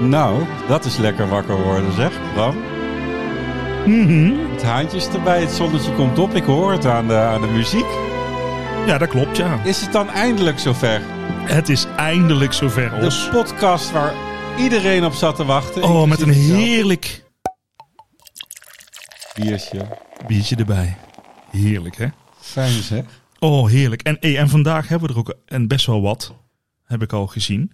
Nou, dat is lekker wakker worden, zeg, Bram. Mhm. Het haantje is erbij, het zonnetje komt op. Ik hoor het aan de, aan de muziek. Ja, dat klopt, ja. Is het dan eindelijk zover? Het is eindelijk zover, De Os. podcast waar iedereen op zat te wachten. Oh, met een inclusief jezelf. heerlijk biertje. biertje erbij. Heerlijk, hè? Fijn zeg. Oh, heerlijk. En, eh, en vandaag hebben we er ook en best wel wat, heb ik al gezien.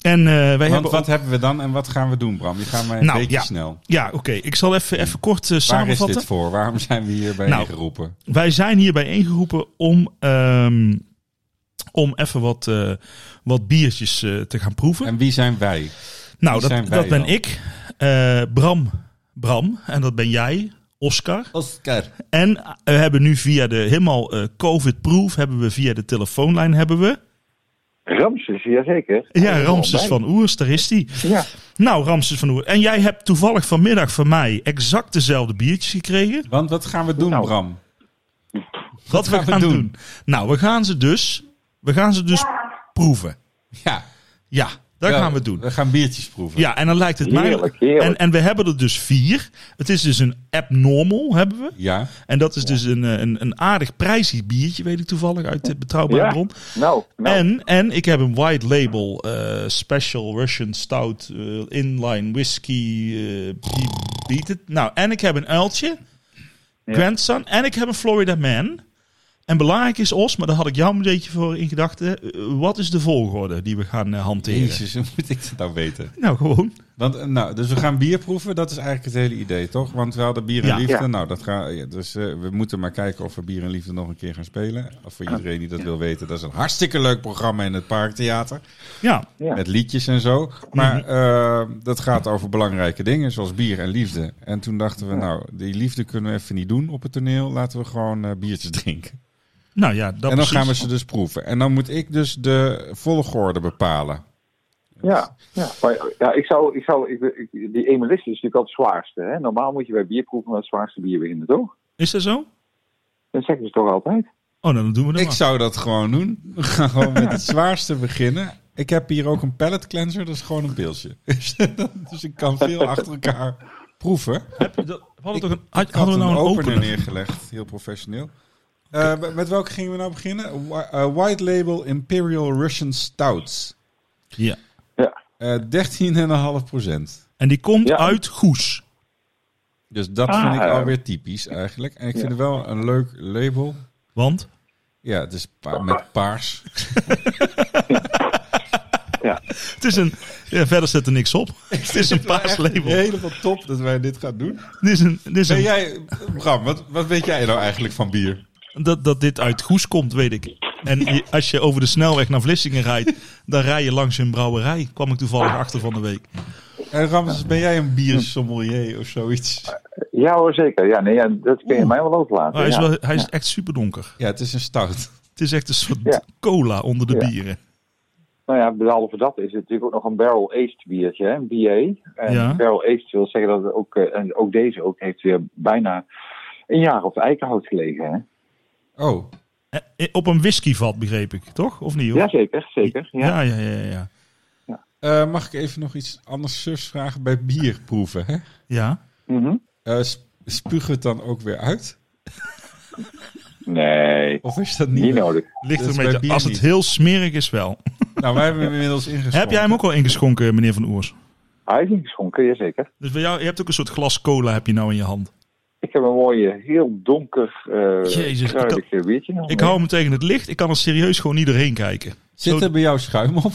En eh, wij Want hebben... wat ook- hebben we dan en wat gaan we doen, Bram? Je gaat maar een Nou, beetje ja. snel. ja, oké. Ik zal even, even kort eh, Waar is samenvatten. dit voor? Waarom zijn we hierbij Nou, ingeroepen? Wij zijn hier bijeengeroepen om, ehm, om even wat, eh, wat biertjes eh, te gaan proeven. En wie zijn wij? nou, wie dat, zijn wij dat ben dan? ik, eh, Bram, Bram, en dat ben jij, Oscar. Oscar. En eh, we hebben nu via de helemaal eh, COVID-proof, hebben we via de telefoonlijn hebben we. Ramses, jazeker. Ja, Ramses van Oers, daar is die. Ja, Nou, Ramses van Oers. En jij hebt toevallig vanmiddag van mij exact dezelfde biertjes gekregen. Want wat gaan we doen, Nou. Bram? Wat we gaan we gaan doen. doen? Nou, we gaan ze dus, we gaan ze dus proeven. Ja, Ja, dat wel, gaan we doen. We gaan biertjes proeven. Ja, en dan lijkt het Heerlijk, mij. heerlijk. En, en we hebben er dus vier. Het is dus een abnormal, hebben we. Ja. En dat is dus een, eh, een, een aardig prijzig biertje, weet ik toevallig, uit de betrouwbare Ja. bron. nou, nou En, en ik heb een white label eh, special Russian stout eh, inline whisky. eh, die biedt het. Nou, en ik heb een uiltje, grandson, en ik heb een Florida man. En belangrijk is Os, maar daar had ik jou een beetje voor in gedachten. eh, wat is de volgorde die we gaan eh, hanteren? Jezus, hoe moet ik dat nou weten? Nou, gewoon. Want, eh, nou, dus we gaan bier proeven, dat is eigenlijk het hele idee, toch? Want we hadden bier en Ja. liefde, Ja. nou, dat ga, ja, dus eh, we moeten maar kijken of we bier en liefde nog een keer gaan spelen. Of voor iedereen die dat wil weten, dat is een hartstikke leuk programma in het Parktheater. Ja. Mhm. ja. Met liedjes en zo. Maar eh, dat gaat over belangrijke dingen, zoals bier en liefde. En toen dachten we, nou, die liefde kunnen we even niet doen op het toneel. Laten we gewoon eh, biertjes drinken. Nou ja, dat en dan precies. gaan we ze dus proeven. En dan moet ik dus de volgorde bepalen. ja, ja. Maar, ja ik zou, ik zou, ik, ik- die emelist is natuurlijk al het zwaarste. Hè? Normaal moet je bij bierproeven met het zwaarste bier beginnen, toch? Is dat zo? Dat zeggen ze toch altijd? Oh, nou, dan doen we dat Ik maar. zou dat gewoon doen. We gaan gewoon met het zwaarste beginnen. Ik heb hier ook een pallet cleanser, dat is gewoon een pilsje. dus ik kan veel achter elkaar proeven. Heb je dat- we hadden, toch een, had- Ik had hadden we nou een opener? neergelegd, heel professioneel. Eh, met welke gingen we nou beginnen? Wa- eh, White Label Imperial Russian Stouts. Ja. Ja. Eh 13,5 procent. En die komt Ja. uit Goes. Dus dat Ah. vind ik alweer typisch eigenlijk. En ik vind het wel een leuk label. Want? Ja, het is pa- met paars. Ja, Het is een... Ja, verder zit er niks op. Het is een paars label. Helemaal top dat wij dit gaan doen. Het is een, het is Ben een, jij, Bram, wat, wat weet jij nou eigenlijk van bier? dat, dat dit uit Goes komt, weet ik. En je- als je over de snelweg naar Vlissingen rijdt, dan rij je langs een brouwerij. Kwam ik toevallig Ah. achter van de week. En Ramses, Eh, dus ben jij een biersommelier of zoiets? ja hoor, zeker. Ja, nee, ja, dat kun je Oeh. mij wel overlaten. hij is, ja. wel, hij is echt superdonker. Ja, het is een stout. Het is echt een soort Ja. cola onder de Ja. bieren. Nou ja, behalve dat is het natuurlijk ook nog een barrel-aged biertje, hè? een BA. En Ja. barrel-aged wil zeggen dat het ook, eh, en ook deze ook, heeft weer bijna een jaar op eikenhout gelegen. Hè? Oh, Eh, eh, Op een whiskyvat, begreep ik, toch? Of niet, hoor? Jazeker, zeker. Ja. ja, ja, ja. ja. eh, mag ik even nog iets anders zus vragen bij bier proeven? Hè? ja. Mhm. Eh, sp- spuug het dan ook weer uit? Nee, Of is dat niet? niet nodig. Ligt Dat er is een bij beetje, bier als het niet. heel smerig is wel. Nou, wij hebben hem inmiddels ingeschonken. Heb jij hem ook al ingeschonken, meneer Van Oers? Hij is ingeschonken, jazeker. Dus bij jou, je hebt ook een soort glas cola heb je nou in je hand. Ik heb een mooie, heel donker, eh Jezus, ik kruidig biertje. nog Ik mee. hou hem tegen het licht. Ik kan er serieus gewoon niet doorheen kijken. Zit Zo- er bij jou schuim op?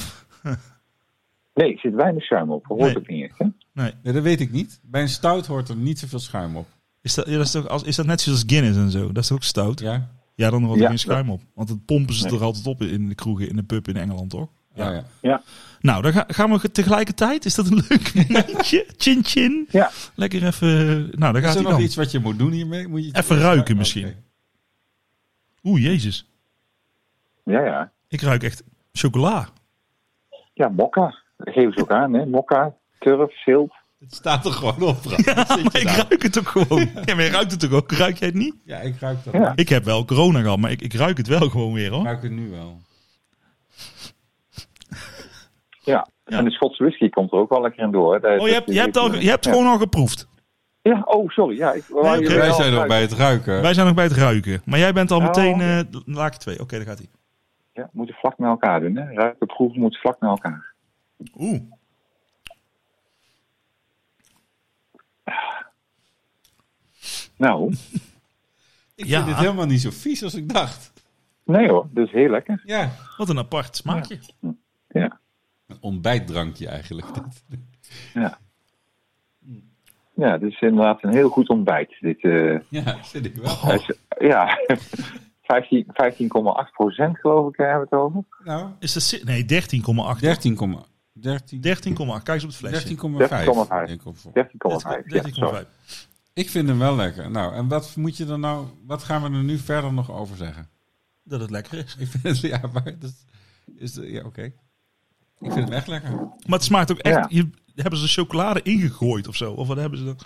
Nee, er zit weinig schuim op. Hoort Nee. het niet echt, hè? Nee. Nee, dat weet ik niet. Bij een stout hoort er niet zoveel schuim op. Is dat, ja, dat is, toch, als, is dat net zoals Guinness en zo? Dat is toch ook stout? Ja, Ja? dan wordt er Ja. geen schuim op. Want dan pompen ze het er altijd op in de kroegen, in de pub in Engeland, toch? Ja. Oh, ja. Ja, Nou, dan ga- gaan we ge- tegelijkertijd. Is dat een leuk momentje? Chin chin. ja. Lekker even... Nou, daar Is gaat er hij nog dan. iets wat je moet doen hiermee? Moet je het- Even ruiken Oké. misschien. Oeh, jezus. ja, ja. Ik ruik echt chocola. Ja, mokka. Dat geven ze ook aan, hè. Mokka, turf, zilt. Het staat er gewoon op. Bram. Wat zit je Ik daar? ruik het ook gewoon. Ja, maar je ruikt het ook ook. Ruik jij het niet? Ja, ik ruik dat. Ja. niet. Ik heb wel corona gehad, maar ik, ik ruik het wel gewoon weer, Ik hoor. ruik het nu wel. Ja. en de Schotse whisky komt er ook wel lekker in door. hè. Daar- Oh, je dat- hebt, je hebt, al, je hebt gewoon al geproefd. Ja, oh, sorry. Ja, ik, Nee, oké. Wij zijn nog bij het ruiken. Wij zijn nog bij het ruiken. Maar jij bent al Ja. meteen eh laak 2. Oké, daar gaat hij. Ja, we moeten vlak naar elkaar doen. Hè? Ruiken, proeven moet vlak naar elkaar. Oeh. Nou, Ik Ja. vind het helemaal niet zo vies als ik dacht. nee hoor, dat is heel lekker. Ja. Wat een apart smaakje. Ja, Een ontbijtdrankje eigenlijk. dit. ja. ja dit is inderdaad een heel goed ontbijt. Dit, eh, Ja, vind ik wel. Oh. hij is- Dus, ja, 15 15,8 geloof ik hè, hebben we het over. Nou, Is dat, si- nee, 13,8. 13, 13, 13,8. Kijk eens op het flesje. 13,5. 13,5. denk ik op voor. 13,5. Ja, sorry. 13,5. Ik vind hem wel lekker. Nou, en wat moet je er nou, wat gaan we er nu verder nog over zeggen? Dat het lekker is. Ik vind het, ja, maar dat is, ja, oké. Ik vind hem echt lekker. Maar het smaakt ook echt. Ja. Je, hebben ze chocolade ingegooid of zo? Of wat hebben ze dan?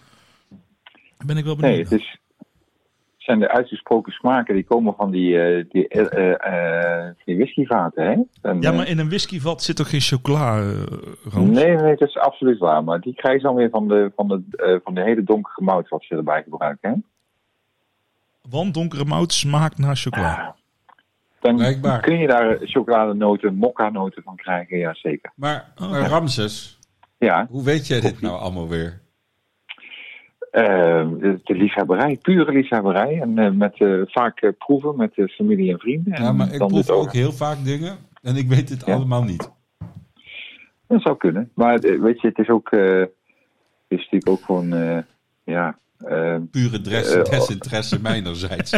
Ben ik wel benieuwd. Nee, het is, het zijn de uitgesproken smaken die komen van die, eh, die, eh, eh, eh, die whiskyvaten. Hè? En, ja, eh, maar in een whiskyvat zit toch geen chocola, eh, Roos? Nee, nee, dat is absoluut waar. Maar die krijg je dan weer van de, van de, eh, van de hele donkere mout wat ze erbij gebruiken. Hè? Want donkere mout smaakt naar chocola. Dan Blijkbaar. kun je daar chocoladenoten, mokka-noten van krijgen, ja zeker. Maar, maar Ramses, Ja, hoe weet jij dit nou allemaal weer? eh, de liefhebberij, pure liefhebberij. En eh, met, eh, vaak eh, proeven met eh, familie en vrienden. En Ja, maar ik dan dus proef dit ook heel vaak dingen en ik weet dit Ja. allemaal niet. Dat zou kunnen. Maar eh, weet je, het is ook, eh, het is natuurlijk ook gewoon, eh, ja... eh, Pure dress- Eh, oh. desinteresse mijnerzijds.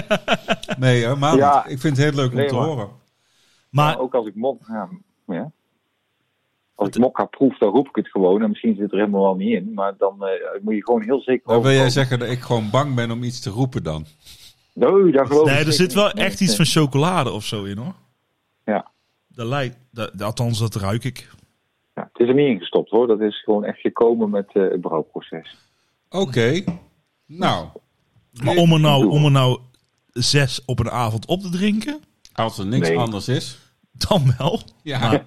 Nee, helemaal Ja. niet. Ik vind het heel leuk om Nee, te maar- horen. Maar ook als ik mok, ja, ja. Als ik mokka proef, dan roep ik het gewoon. En misschien zit er helemaal wel niet in. Maar dan eh, moet je gewoon heel zeker Dan wil jij overkomen. zeggen dat ik gewoon bang ben om iets te roepen dan? Nee, daar geloof ik nee, er zeker zit wel niet. Nee, echt iets nee. van chocolade of zo in hoor. Ja. Dat lijkt, dat, althans, dat ruik ik. Ja, het is er niet ingestopt hoor. Dat is gewoon echt gekomen met eh, het brouwproces. Oké. Nou, Maar Nee, om er, nou, doe. om er nou zes op een avond op te drinken, als er niks Nee. anders is. dan wel. Ja.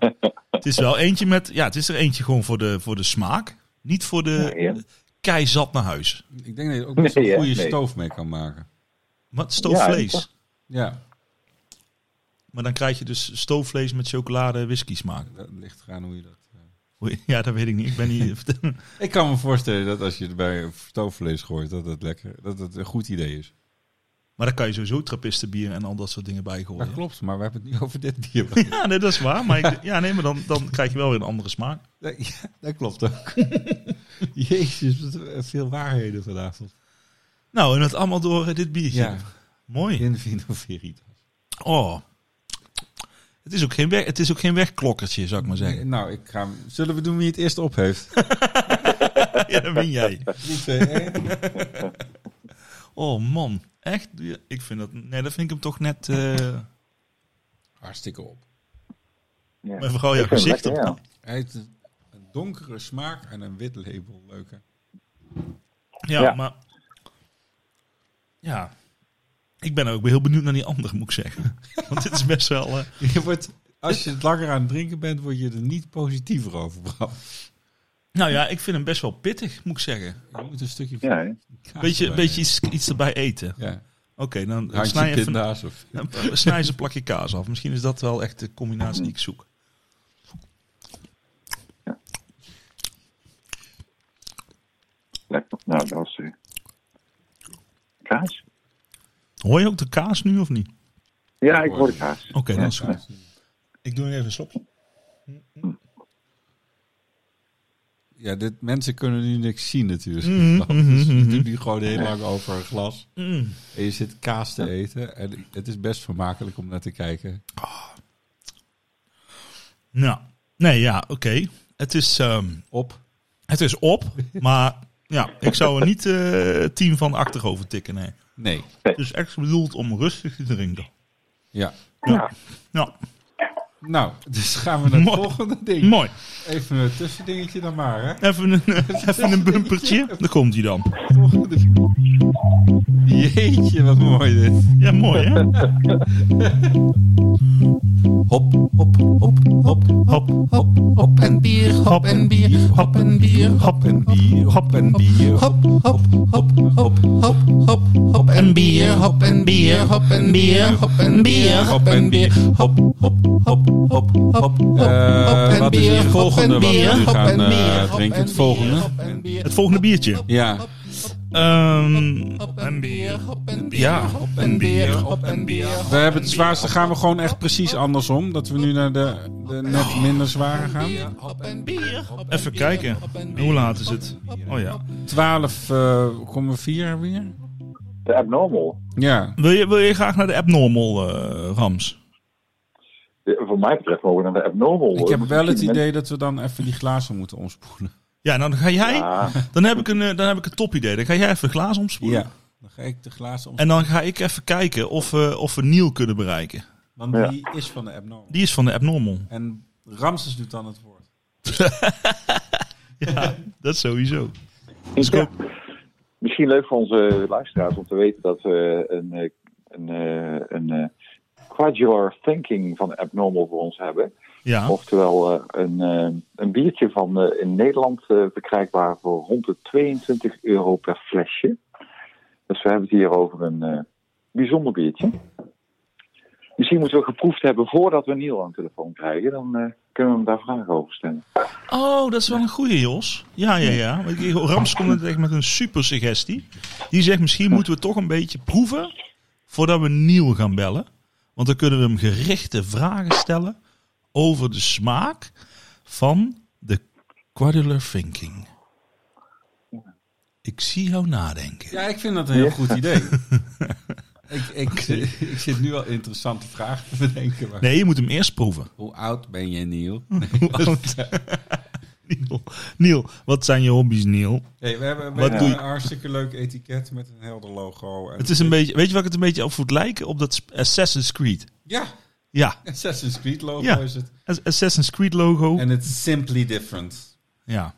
Het is wel eentje met, ja, het is er eentje gewoon voor de, voor de smaak. Niet voor de Nee, ja. kei zat naar huis. Ik denk dat je er ook best wel Nee, een hè? goede Nee. stoof mee kan maken. Maar het Ja, stoofvlees. dat- Ja, maar dan krijg je dus stoofvlees met chocolade whisky smaak. dat ligt eraan hoe je dat... Oei, Ja, dat weet ik niet. Ik ben niet. Ik kan me voorstellen dat als je het bij stoofvlees gooit, dat het lekker, dat het een goed idee is. maar dan kan je sowieso trappistenbier en al dat soort dingen bijgooien. Dat klopt, maar we hebben het niet over dit bier. Ja, nee, dat is waar. Maar ik, ja, nee, maar dan, dan krijg je wel weer een andere smaak. Nee, ja, dat klopt ook. Jezus, wat eh, veel waarheden vanavond. Nou, en dat allemaal door eh, dit biertje. Ja, Mooi. in Vino Veritas. Oh. Het is, ook geen weg, het is ook geen wegklokkertje, zou ik maar zeggen. Nou, ik ga... hem- zullen we doen wie het eerst op heeft? Ja, dan win jij. Drie, twee, één. Oh man, echt? Ja, Ik vind dat, nee, dat vind ik hem toch net... eh, Hartstikke op. Ja. maar vooral jouw Ik vind het gezicht lekker, op. Hij heeft een een donkere smaak en een wit label. Leuke. Ja, Ja. maar... Ja. Ik ben ook heel benieuwd naar die andere, moet ik zeggen. Want dit is best wel... eh, Je wordt, als je het langer aan het drinken bent, word je er niet positiever over, Bram. nou ja, ik vind hem best wel pittig, moet ik zeggen. Je moet een stukje Ja, hè. kaas Beetje, erbij beetje iets, iets erbij eten. nemen. Ja, Oké, dan handje snij je even... pinda's of... Dan snij ze een plakje kaas af. Misschien is dat wel echt de combinatie die ik zoek. lekker. Nou, dat was... eh, kaas? Hoor je ook de kaas nu of niet? Ja, ik hoor de kaas. Oké, Ja. dan is het goed. Ik doe even een slokje. Ja, dit, mensen kunnen nu niks zien natuurlijk. Mhm, dus mhm, we mhm. doen nu gewoon heel lang over een glas. Mm. En je zit kaas te eten. En het is best vermakelijk om naar te kijken. Nou, nee, ja, oké. Het, is, ehm, Op. het is op, maar ja, ik zou er niet eh tien van achterover tikken, nee. Nee. Het is echt bedoeld om rustig te drinken. Ja. Ja. Nou, Nou, dus gaan we naar het Mooi. volgende ding. mooi. Even een tussendingetje dan maar, hè. Even een, even een bumpertje. Daar komt hij dan. Volgende. Jeetje, wat mooi dit. Ja, mooi hè? Hop, hop, hop, hop, Hop, hop, hop en bier, hop en bier, hop en bier, hop en bier, hop en bier, hop, hop, hop, hop, hop, hop, hop en bier, hop en bier, hop en bier, hop en bier, hop en bier, hop, hop, hop, hop, hop, hop, hop Eh en wat is bier, het hop en volgende wat we bier, nu hop gaan en bier, eh, hop drinken? en Het volgende? bier, hop en bier, het volgende biertje. Ja. Ehm, hop en bier, hop en bier, ja, hop en bier, hop en bier. We hebben het zwaarste. Gaan we gewoon echt precies andersom? Dat we nu naar de, de net minder zware gaan? Hop en bier, hop en even kijken. Hoe laat is het? Oh ja. 12,4 weer? De abnormal. Ja. Wil je, wil je graag naar de abnormal, eh, Rams? De, voor mij betreft mogen we naar de abnormal. Ik heb Eh, wel het misschien idee dat we dan even die glazen moeten omspoelen. Ja, nou dan ga jij. mensen- Ah, Ja, Dan heb ik een, eh, dan heb ik een topidee. Dan ga jij even glazen omspoelen. Ja. Dan ga ik de glazen omspoelen. En dan ga ik even kijken of, we of we Neil kunnen bereiken. Want Ja. die is van de abnormal. Die is van de abnormal. En Ramses doet dan het woord. Ja, dat sowieso. Ja. Misschien leuk voor onze luisteraars om te weten dat we een, eh, een, eh, een eh, quadrature thinking van abnormal voor ons hebben. Ja. Oftewel eh, een, eh, een biertje van eh, in Nederland eh, verkrijgbaar voor rond de 22 euro per flesje. Dus we hebben het hier over een eh, bijzonder biertje. Misschien moeten we geproefd hebben voordat we Niel aan de telefoon krijgen. Dan eh, kunnen we hem daar vragen over stellen. Oh, dat is wel een goede, Jos. Ja, ja, ja. Want ik- Rams komt net echt met een super suggestie. Die zegt, misschien moeten we toch een beetje proeven voordat we Neil gaan bellen. Want dan kunnen we hem gerichte vragen stellen over de smaak van de quadrular thinking. Ik zie jou nadenken. Ja, ik vind dat een heel goed idee. ik, ik, ik zit nu al interessante vragen te bedenken. maar- Nee, je moet hem eerst proeven. Hoe oud ben je, Neil? Neil, Neil, wat zijn je hobby's, Neil? Hey, we hebben, we Wat hebben doe een je? hartstikke leuk etiket met een helder logo. En Het is een beetje, weet je wat ik het een beetje op voet lijken? Op dat sp- Assassin's Creed. Ja, Ja, Assassin's Creed logo Ja. is het. Ass- Assassin's Creed logo. En het is Simply Different. ja,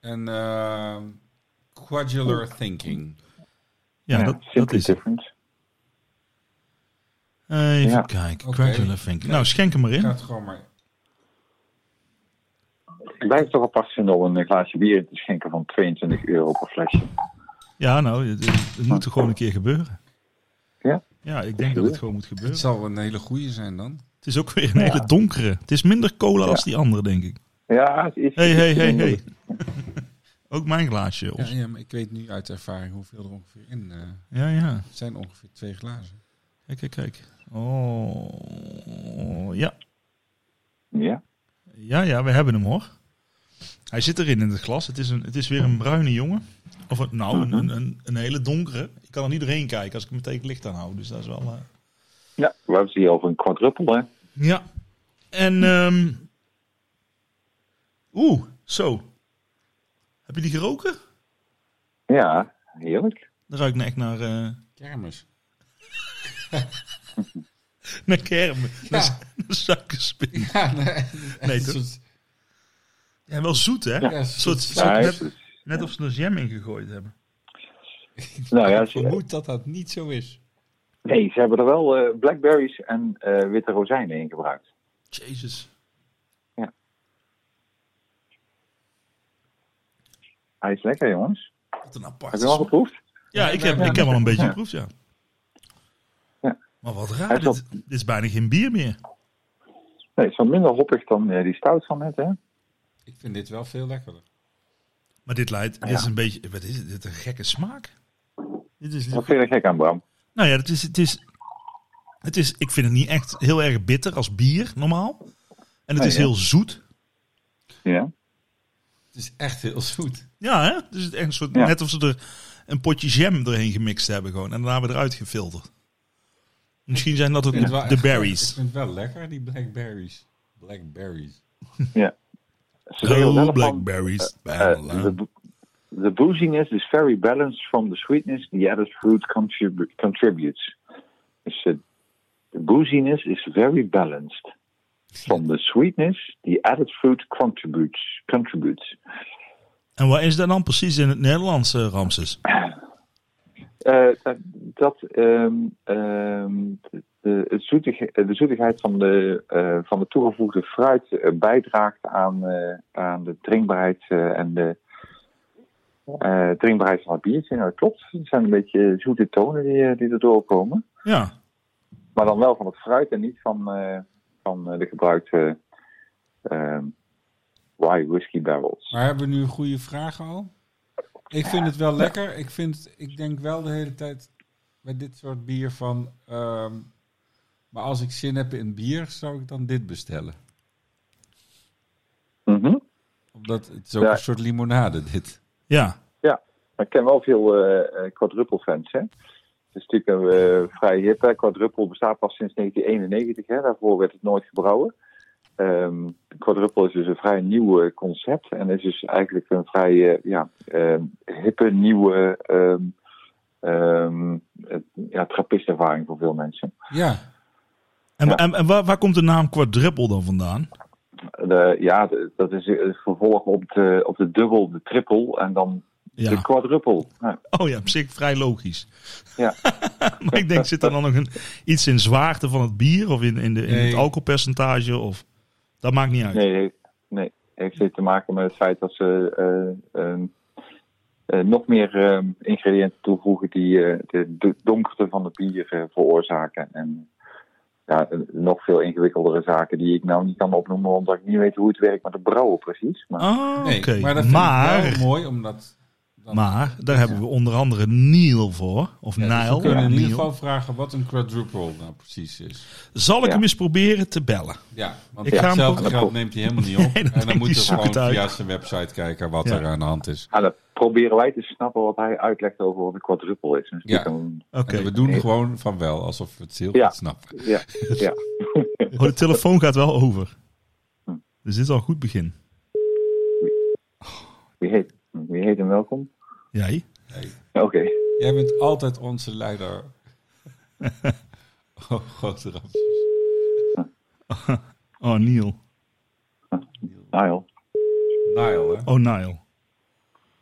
En ehm Quadular Thinking. ja, dat, dat simply is het. different. Even Ja. kijken. Oké. Quadrant Think. Nou, schenk hem maar Ik ga in. het gewoon maar... Ik blijf het toch apart vinden om een eh, glaasje bier in te schenken van 22 euro per flesje. Ja, nou, het, het moet er gewoon een keer gebeuren. Ja? Ja, ik denk dat het gewoon moet gebeuren. Het zal een hele goeie zijn dan. Het is ook weer een hele donkere. Het is minder cola als die andere, denk ik. Ja, het is. Hé, hé, het is hé, hé. minder. Ook mijn glaasje, Ja, Jos. ja, maar ik weet nu uit ervaring hoeveel er ongeveer in eh, Ja, ja. zijn. Ongeveer twee glazen. Kijk, kijk, kijk. Oh, ja. Ja. Ja, ja, we hebben hem hoor. Hij zit erin in het glas. Het is, een, het is weer een bruine jongen. Of een- nou, een, een, een, een hele donkere. Ik kan er niet doorheen kijken als ik hem tegen het licht aanhoud. Dus dat is wel... eh, ja, we hebben het hier over een quadruppel, hè? Ja. En, ehm oeh, zo. Heb je die geroken? Ja, heerlijk. Dan ruikt ik echt naar, eh Kermis. naar kerm. Ja. Naar, naar suikerspin. Ja, nee. Nee, toch? Ja, wel zoet, hè? Ja, Een soort, zoet. soort Ja, net, het is- net of ze er jam in gegooid hebben. nou ja, Ik ze, vermoed dat dat niet zo is. nee, ze hebben er wel eh, blackberries en eh, witte rozijnen in gebruikt. Jezus. Hij is lekker, jongens. Wat een Heb aparte je hem al smaak. geproefd? Ja, ik heb, ik heb al een beetje geproefd, ja. Ja. Maar wat Hij raar, is wel- dit, dit is bijna geen bier meer. Nee, het is wat minder hoppig dan eh, die stout van net, hè? Ik vind dit wel veel lekkerder. Maar dit leidt, dit is een beetje, wat is dit, dit is een gekke smaak. Dit is, Wat vind je er gek aan, Bram? nou ja, het is, het is, het is, ik vind het niet echt heel erg bitter als bier, normaal. En het Nee, is ja. heel zoet. Ja. Het is echt heel zoet. Ja, hè? Dus het is echt een soort, Ja. net of ze er een potje jam doorheen gemixt hebben gewoon. En daarna weer eruit gefilterd. Misschien zijn dat ook vind het de, wel de echt- berries. Ik vind het wel lekker, die blackberries. Blackberries. Ze zeggen er wel Oh, van, blackberries. eh, Bijna lauw. the, bo- the booziness is very balanced from the sweetness the added fruit contribu- contributes. Dus eh, the booziness is very balanced from the sweetness the added fruit contributes. contributes. En wat is dat dan precies in het Nederlands, eh, Ramses? Eh, dat- dat, ehm, ehm, de, de, het zoetige- de zoetigheid van de, eh, van de toegevoegde fruit eh, bijdraagt aan, eh, aan de drinkbaarheid eh, en de eh, drinkbaarheid van het biertje. Nou, dat klopt. Het zijn een beetje zoete tonen die, eh, die erdoor komen. Ja. Maar dan wel van het fruit en niet van, eh, van eh, de gebruikte ehm rye whisky barrels. Maar hebben we nu goede vragen al? Ik vind het wel lekker. Ik, vind, ik denk wel de hele tijd bij dit soort bier van... ehm, maar als ik zin heb in bier, zou ik dan dit bestellen. Mhm. Omdat het is ook Ja. een soort limonade, dit. Ja. Ja, maar ik ken wel veel eh eh, quadruple-fans, hè. Het is natuurlijk een eh, vrij hip, hè. Quadruple bestaat pas sinds 1991, hè. Daarvoor werd het nooit gebrouwen. Ehm quadruple is dus een vrij nieuw eh, concept. En is dus eigenlijk een vrij, eh, ja, ehm, hippe, nieuwe... ehm ehm, eh, ja, trappistervaring voor veel mensen. Ja, En, Ja. en, en waar, waar komt de naam quadruple dan vandaan? De, ja, de- dat is het vervolg op de, op de dubbel, de triple en dan de Ja. quadruple. Nou, Oh ja, op zich vrij logisch. ja. Maar ik denk, zit er dan nog een, iets in zwaarte van het bier of in, in, de, in het Nee. alcoholpercentage? Of, dat maakt niet uit. Nee, heeft- nee, heeft dit te maken met het feit dat ze eh, ehm, eh, nog meer ehm, ingrediënten toevoegen die eh, de, de donkerte van het bier eh, veroorzaken. En ja, eh, nog veel ingewikkeldere zaken die ik nou niet kan opnoemen, omdat ik niet weet hoe het werkt met de brouwen precies. Maar Ah, nee, oké. maar dat vind Maar, ik wel mooi, omdat... dan- maar daar hebben we onder andere Neil voor. Of Ja, dus Nile. we kunnen in Neil. ieder geval vragen wat een quadruple nou precies is. Zal ik Ja. hem eens proberen te bellen? Ja, want Ik ga hem hetzelfde ook- geld neemt hij helemaal niet op. Nee, en dan denkt dan hij, moeten we zoek gewoon het uit. via zijn website kijken wat Ja. er aan de hand is. ah, dan proberen wij te snappen wat hij uitlegt over wat een quadruple is. Dus Ja. die kan- Oké. En we doen gewoon van wel, alsof we het heel Ja. goed snappen. ja, ja. Oh, de telefoon gaat wel over. Hm. Dus dit is al een goed begin. Wie, heet, wie heet hem welkom? Jij? Oké. Jij bent altijd onze leider. oh, grote rap. Oh, Neil. Niall. Nile, hè? Oh, Nile.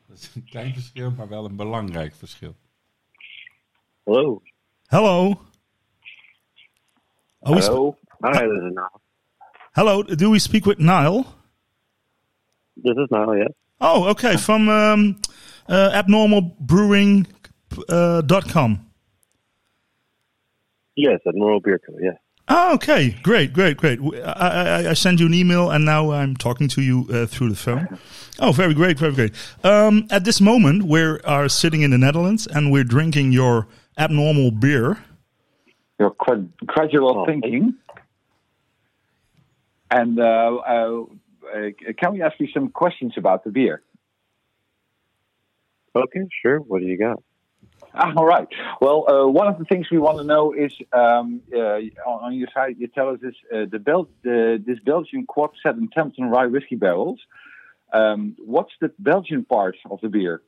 Dat is een klein verschil, maar wel een belangrijk verschil. Hallo. Hallo. Oh, we sp- Hallo. Hi, this is Niall. Hello, do we speak with Nile? This is Niall, yes. Oh, okay, from um, uh, abnormalbrewing.com. Yes, Admiral Beer Co. Yes. Oh, okay, great, great, great. W- I, I, I send you an email, and now I'm talking to you uh, through the phone. Oh, very great, very great. Um, at this moment, we are sitting in the Netherlands, and we're drinking your abnormal beer. your quad- gradual Oh. thinking. And uh, uh, uh, can we ask you some questions about the beer? Okay, sure. What do you got? Ah, all right. Well, uh, one of the things we want to know is um, uh, on on your side, you tell us this uh, the Bel- the, this Belgian quad set in Tempton rye whiskey barrels. Um, what's the Belgian part of the beer?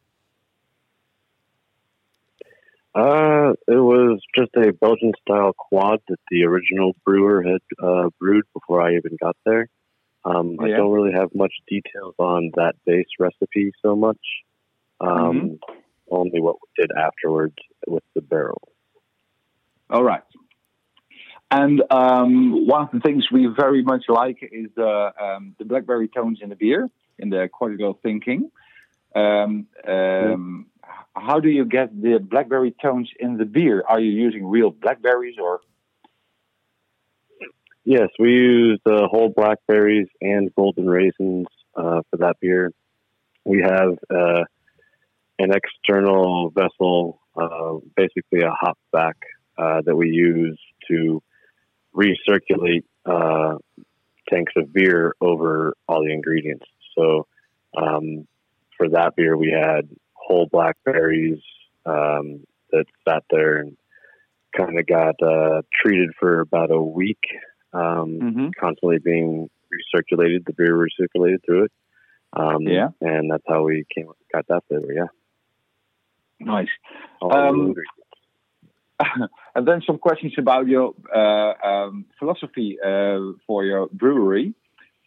Uh, it was just a Belgian style quad that the original brewer had uh, brewed before I even got there. Um, I Yeah. don't really have much details on that base recipe so much. Um, Only what we did afterwards with the barrel. All right. And um, one of the things we very much like is the um, the blackberry tones in the beer, in the cortical thinking. Um, um, How do you get the blackberry tones in the beer? Are you using real blackberries or? Yes, we used uh, whole blackberries and golden raisins uh, for that beer. We have uh, an external vessel, uh, basically a hop back uh, that we use to recirculate uh, tanks of beer over all the ingredients. So um, for that beer, we had whole blackberries um, that sat there and kind of got uh, treated for about a week. Um, constantly being recirculated, the beer recirculated through it. Um, Yeah. And that's how we came got that flavor, yeah. Nice. All Um, the ingredients. And then some questions about your uh, um, philosophy uh, for your brewery.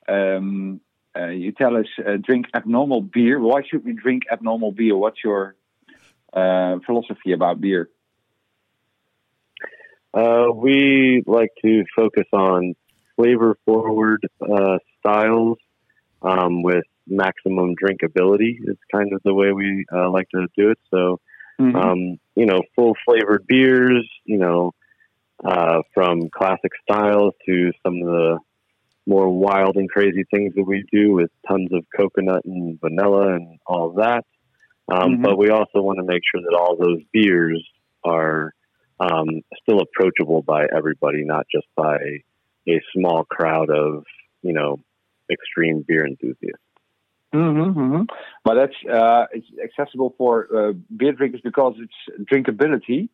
Um, uh, you tell us uh, drink abnormal beer. Why should we drink abnormal beer? What's your uh, philosophy about beer? Uh, we like to focus on flavor forward uh, styles um, with maximum drinkability. It's kind of the way we uh, like to do it. So, Mhm. um, you know, full flavored beers, you know, uh, from classic styles to some of the more wild and crazy things that we do with tons of coconut and vanilla and all that. Um, Mhm. But we also want to make sure that all those beers are um, still approachable by everybody, not just by a small crowd of, you know, extreme beer enthusiasts. Mm-hmm, But that's uh, it's accessible for uh, beer drinkers because it's drinkability.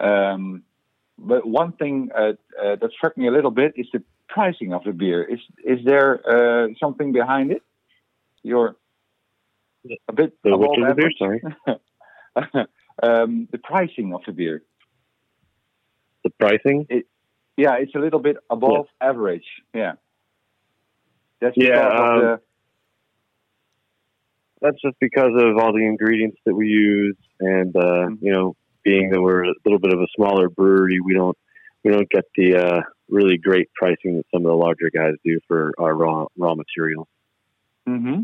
Um, but one thing uh, uh, that struck me a little bit is the pricing of the beer. Is is there uh, something behind it? You're a bit So, above which is the beer? average. Sorry. um, the pricing of the beer. The pricing? Yeah, it's a little bit above average. Yeah. That's Yeah, because of um, the- that's just because of all the ingredients that we use, and uh, you know, being that we're a little bit of a smaller brewery, we don't we don't get the uh, really great pricing that some of the larger guys do for our raw raw material. Mm-hmm.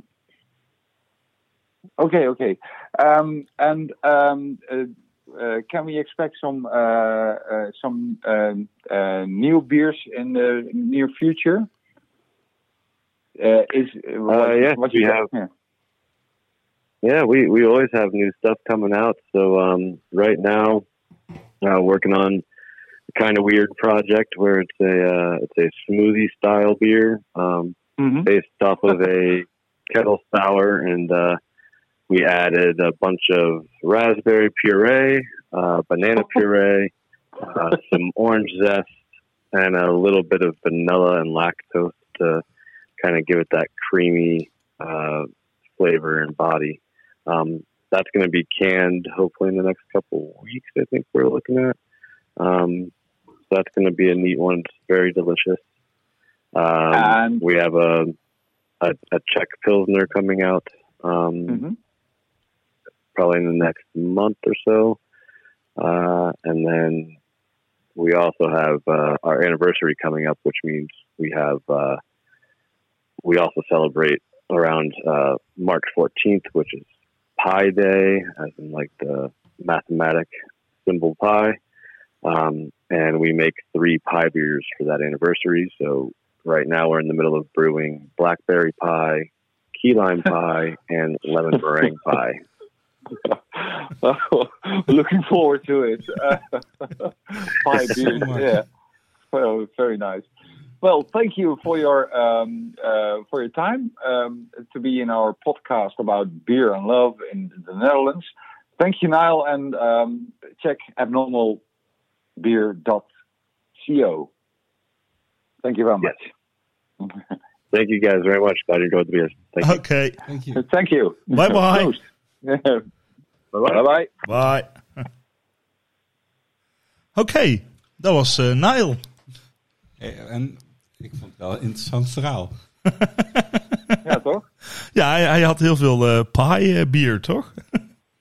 Okay, okay. Um, and um, uh, uh, can we expect some uh, uh, some um, uh, new beers in the near future? Uh, is uh, what- yes, what we you- have. yeah. Yeah, we we always have new stuff coming out. So um, right now, uh, working on a kind of weird project where it's a uh, it's a smoothie style beer. Um, Mhm. based off of a kettle sour, and uh, we added a bunch of raspberry puree, uh, banana puree, uh, some orange zest, and a little bit of vanilla and lactose to kind of give it that creamy uh, flavor and body. Um, that's going to be canned hopefully in the next couple weeks. I think we're looking at. Um, so that's going to be a neat one. It's very delicious. Um, And- we have a, a a Czech Pilsner coming out um, Mhm. probably in the next month or so, uh, and then we also have uh, our anniversary coming up, which means we have uh, we also celebrate around uh, March 14th, which is Pi Day, as in like the mathematic symbol pi. Um, and we make three pie beers for that anniversary. So right now we're in the middle of brewing blackberry pie, key lime pie, and lemon meringue pie. Looking forward to it. Uh, five So beers, much. yeah. Well, very nice. Well, thank you for your um, uh, for your time um, to be in our podcast about beer and love in the Netherlands. Thank you, Niall, and um, check abnormalbeer.co. Thank you very much. Thank you guys very much. Glad you enjoyed the beer. Thank you. Okay. Thank you. Thank you. Bye-bye. bye bye. Bye. Oké, dat was eh Nile. Eh, En ik vond het wel een interessant verhaal. Ja, toch? Ja, hij, hij had heel veel eh pie eh, bier, toch?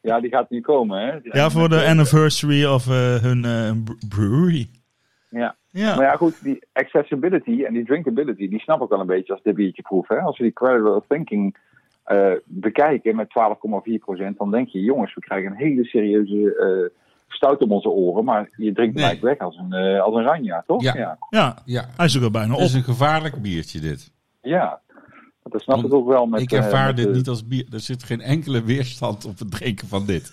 Ja, die gaat nu komen, hè? Ja, voor de anniversary of eh, hun eh, bre- brewery. Ja. Maar Ja, ja, goed, die accessibility en die drinkability, die snap ik wel een beetje als de biertje proef. Hè? Als we die credible thinking eh, bekijken met 12,4%, dan denk je, jongens, we krijgen een hele serieuze eh stout om onze oren. Maar je drinkt Nee. gelijk weg als een, eh, als een ranja, toch? Ja. ja. ja, Ja, hij is ook al bijna het op. is een gevaarlijk biertje dit. Ja. Want Dat snap Want ik ook wel met... ik eh, ervaar met dit de- niet als bier. Er zit geen enkele weerstand op het drinken van dit.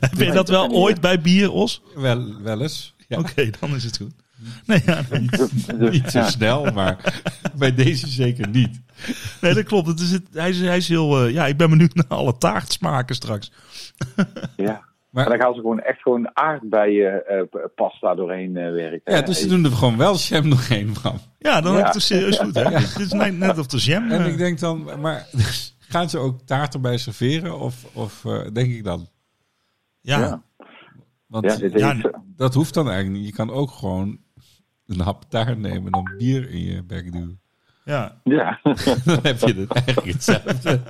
Heb je dat wel ooit bij bier, Os? Wel, wel eens. Ja, Oké, dan is het goed. Nee, ja, nee. dus. Niet zo Ja. snel, maar bij deze zeker niet. Nee, dat klopt. Het is het, hij, is, hij is heel... eh, ja, ik ben benieuwd naar alle taartsmaken straks. Ja. Maar- Maar dan gaan ze gewoon echt gewoon aardbeien eh, p- pasta doorheen eh, werken. Ja, dus ze doen er gewoon wel jam nog een van. Ja, dan Ja. heb ik het serieus goed, hè? Dit is net, net of de jam. En eh, ik denk dan, maar gaan ze ook taart erbij serveren? Of, of eh, denk ik dan? ja. ja. Want Ja, dit Ja, is, dat hoeft dan eigenlijk niet. Je kan ook gewoon een hap taart nemen en dan bier in je bek duwen. ja. ja. Dan heb je het eigenlijk hetzelfde.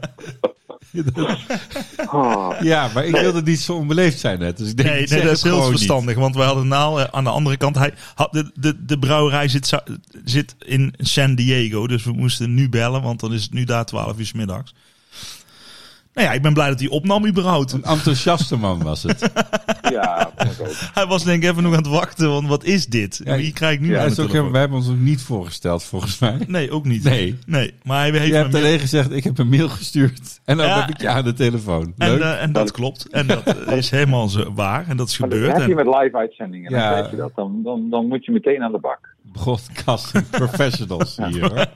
Oh, Ja, maar ik wilde niet zo onbeleefd zijn net. Dus ik denk, Nee, ik zeg nee, dat het is heel gewoon verstandig. Want we hadden nou eh, aan de andere kant. Hij, had, de, de, de brouwerij zit, za- zit in San Diego. Dus we moesten nu bellen, want dan is het nu daar 12 uur 's middags. Nou ja, ik ben blij dat hij opnam überhaupt. Niet. Een enthousiaste man was het. ja, vond ik ook. Hij was denk ik even nog aan het wachten, want wat is dit? Ja, Wie krijg ik nu Ja, aan dat de is ook, telefoon? we hebben ons ook niet voorgesteld, volgens mij. Nee, ook niet. Nee. nee. Maar hij heeft Je me hebt meer- alleen gezegd, ik heb een mail gestuurd. En dan Ja. heb ik je aan de telefoon. en, Leuk. eh, en dat klopt. En dat eh, is helemaal zo waar. En dat is Maar dat gebeurd. heb je En, met live uitzendingen. Ja. Dan, weet je dat. Dan, dan, dan moet je meteen aan de bak. eh, Broadcasting professionals hier, hoor.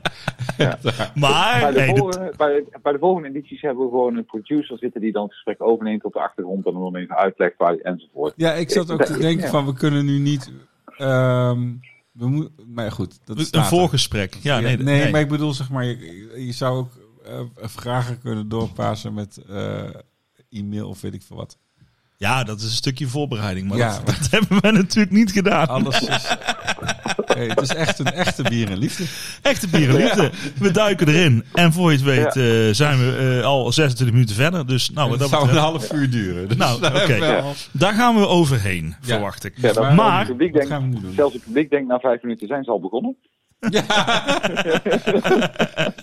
maar bij, de nee, dat- volgende, bij, bij de volgende edities hebben we gewoon een producer zitten die dan het gesprek overneemt op de achtergrond en dan even uitlegt waar enzovoort. Ja, ik zat ook te denken Ja. van, we kunnen nu niet... ehm, we moeten, maar goed, dat is een voorgesprek. Ja, nee, nee, maar ik bedoel, zeg maar, je, je zou ook eh, vragen kunnen doorpassen met eh, e-mail of weet ik veel wat. Ja, dat is een stukje voorbereiding. Maar Ja. Oh. dat, dat hebben we natuurlijk niet gedaan. Alles is... Hey, het is echt een echte bier en liefde. Echte bierenliefde. We duiken erin. En voor je het weet eh, zijn we eh, al 26 minuten verder. Dus nou, wat het dat zou een betreft, half uur duren. Dus Nou, oké. wel- daar gaan we overheen, Ja. verwacht ik. Ja, dat- Maar- maar, het publiek Wat denkt, gaan we nu doen? Zelfs het publiek denkt na vijf minuten zijn ze al begonnen.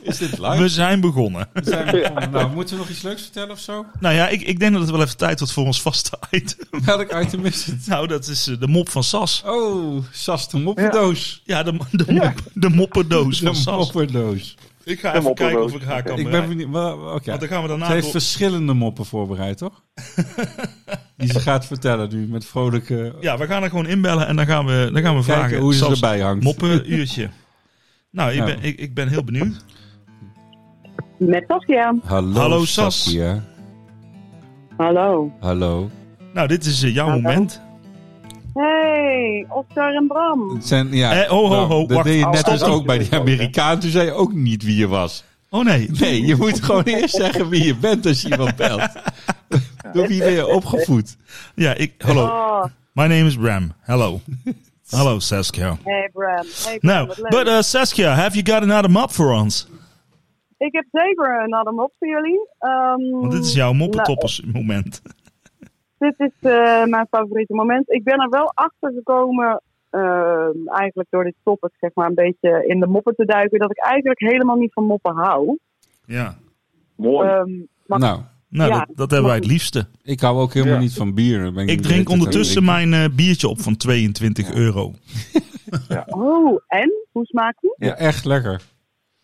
Is dit live? we zijn begonnen. Zijn we begonnen? Nou, moeten we nog iets leuks vertellen of zo? Nou ja, ik, ik denk dat het wel even tijd wordt voor ons vaste item. Welk item is het? Nou, dat is eh, de mop van Sas. Oh, Sas de moppendoos. Ja, de, de, mop, de mopperdoos van de Sas. moppendoos. Ik ga even kijken of ik haar kan Ik ben bereiken. benieuwd. wel, Oké. Want dan gaan we daarna Ze heeft door- verschillende moppen voorbereid, toch? Die ze gaat vertellen nu met vrolijke... Ja, we gaan er gewoon inbellen en dan gaan we, dan gaan we Kijken vragen. hoe ze Sas, erbij hangt. Moppenuurtje. Nou, ik Ja. ben, ik, ik ben heel benieuwd. Met Saskia. Hallo, Hallo, Sas. Saskia. Hallo. Hallo. Nou, dit is eh, jouw Hallo. moment. Hey, Oscar en Bram. Het zijn, ja, Eh, ho, ho, nou, ho, Dat wacht. deed je net Stop Oh, dus hem. ook bij die Amerikaan. Toen zei je ook niet wie je was. Oh nee. Nee, je moet gewoon eerst zeggen wie je bent als je iemand belt. Door wie ben je opgevoed? Ja, ik. Hallo. Oh, My name is Bram. Hello. Hello, Saskia. hey Bram. Hey Bram, Nou, wat leuk. but uh, Saskia, have you got another mop for ons? Ik heb zeker een andere mop voor jullie. Ehm, Want dit is jouw moppetoppersmoment. nou, dit is eh, mijn favoriete moment. Ik ben er wel achter gekomen, ehm, eigenlijk door dit topic, zeg maar, een beetje in de moppen te duiken, dat ik eigenlijk helemaal niet van moppen hou. Ja. Mooi. Ehm, maar Nou, Nou, Ja, dat, dat hebben wij het liefste. ik hou ook helemaal Ja. niet van bier. Dan ben Ik niet drink direct ondertussen aan het mijn eh, biertje op van 22 euro. oh, en? Hoe smaakt die? drinken. Ja, echt lekker.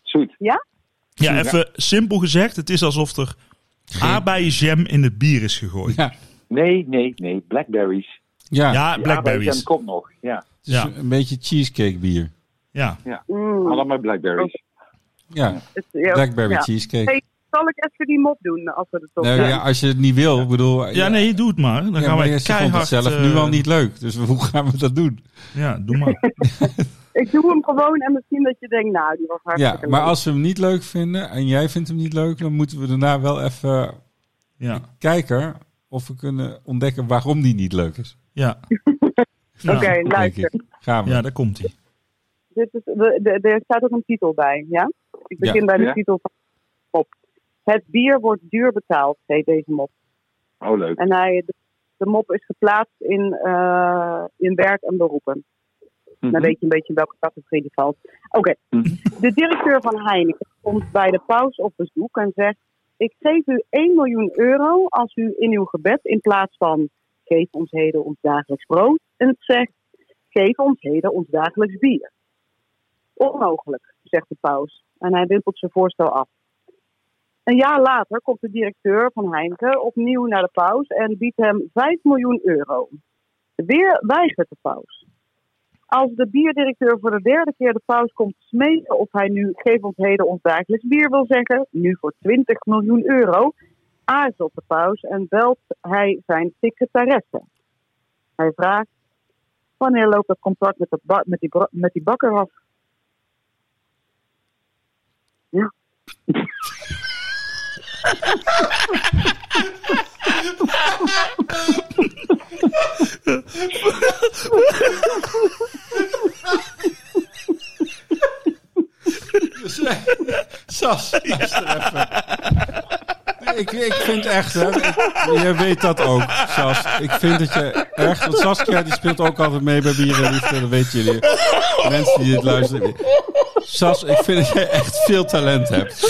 Zoet. Ja, even simpel gezegd, het is alsof er aardbeienjam in het bier is gegooid. Ja, Nee, nee, nee. Blackberries. ja. Ja, Die blackberries. aardbeienjam komt nog. Ja. het is ja. een beetje cheesecake bier. Ja. Mm, Allemaal blackberries. Ja, het- ja, blackberry ja. cheesecake. Hey, zal ik even die mop doen als we de top Nou, ja, als je het niet wil, ik bedoel... Ja, nee, doe het maar. Dan Ja, gaan maar wij je vond het keihard... zelf eh, nu al niet leuk. Dus hoe gaan we dat doen? Ja, doe maar. Ik doe hem gewoon en misschien dat je denkt, nou, die was Ja, hartstikke maar leuk. als we hem niet leuk vinden en jij vindt hem niet leuk... dan moeten we daarna wel even Ja. kijken of we kunnen ontdekken waarom die niet leuk is. ja. Oké, Nou, Denk luister. ik. Gaan we. Ja, daar komt hij. Dit is, de, de- er staat ook een titel bij, ja? Ik begin bij de Ja. titel van de mop. Het bier wordt duur betaald, heet deze mop. Oh, leuk. En hij, de, de mop is geplaatst in, eh, in werk en beroepen. Mhm. Dan weet je een beetje in welke categorie die valt. Oké. De directeur van Heineken komt bij de paus op bezoek en zegt... Ik geef u 1 miljoen euro als u in uw gebed in plaats van... Geef ons heden ons dagelijks brood. En zegt... Geef ons heden ons dagelijks bier. Onmogelijk, zegt de paus. En hij wimpelt zijn voorstel af. Een jaar later komt de directeur van Heineken opnieuw naar de paus en biedt hem 5 miljoen euro. Weer weigert de paus. Als de bierdirecteur voor de derde keer de paus komt smeken of hij nu geef ons heden ons dagelijks bier wil zeggen, nu voor 20 miljoen euro, aarzelt de paus en belt hij zijn secretaresse. Hij vraagt, wanneer loopt dat contract met, dat ba- met, die, bra- met die bakker af? Ja. Sas, luister even. ik, ik vind echt, hè, ik- jij weet dat ook, Sas. Ik vind dat je echt, want Saskia die speelt ook altijd mee bij Bieren en Liefde, dat weten jullie. Mensen die dit luisteren. Sas, ik vind dat jij echt veel talent hebt.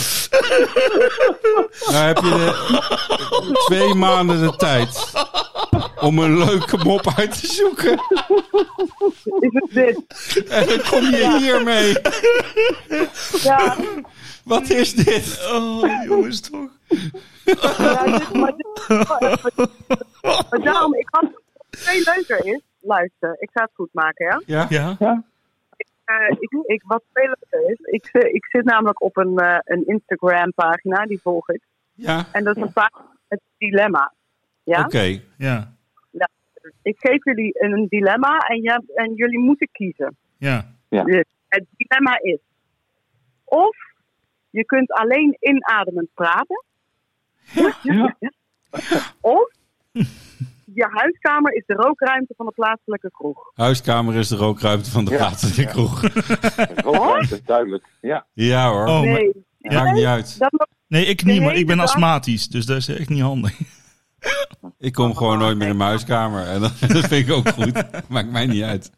Nou heb je de- twee maanden de tijd om een leuke mop uit te zoeken. Is het dit? En dan kom je hiermee. Ja, Wat is dit? Oh, jongens, toch? ja dit, maar, dit- maar daarom, ik had het veel leuker is. Luister, ik ga het goed maken, ja? Ja? Ja. Eh, ik, ik, wat veel leuker is, ik, zi- ik zit namelijk op een, eh, een Instagram-pagina, die volg ik. Ja. En dat is een pagina met dilemma. Ja? Oké. Ja. Ik geef jullie een, een dilemma en, jij- en jullie moeten kiezen. Ja. Dus het dilemma is: of je kunt alleen inademend praten, of je huiskamer is de rookruimte van de plaatselijke kroeg. Oh, Huiskamer is de rookruimte van de Ja. plaatselijke kroeg. Rookruimte, duidelijk. Ja. Ja hoor. Oh, maar- Nee, Maakt niet uit. dat mag nee, ik niet, maar ik ben Nee, dat- astmatisch, dus dat is echt niet handig. Ik kom gewoon nooit meer in mijn huiskamer. En dat, dat vind ik ook goed. Maakt mij niet uit.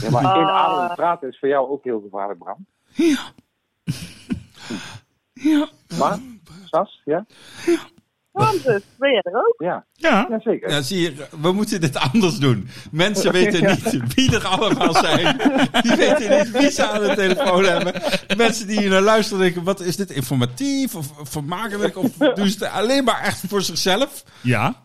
Ja, maar Ah. inademen praten is voor jou ook heel gevaarlijk, Bram. Ja. Maar, Sas, ja? dan dus. Ben jij er ook? Ja, Ja. ja zeker. Ja, zie je, we moeten dit anders doen. Mensen weten niet wie er allemaal zijn. Die weten niet wie ze aan de telefoon hebben. Mensen die hier naar luisteren denken, wat is dit informatief of vermakelijk? Of doen ze het alleen maar echt voor zichzelf? Ja.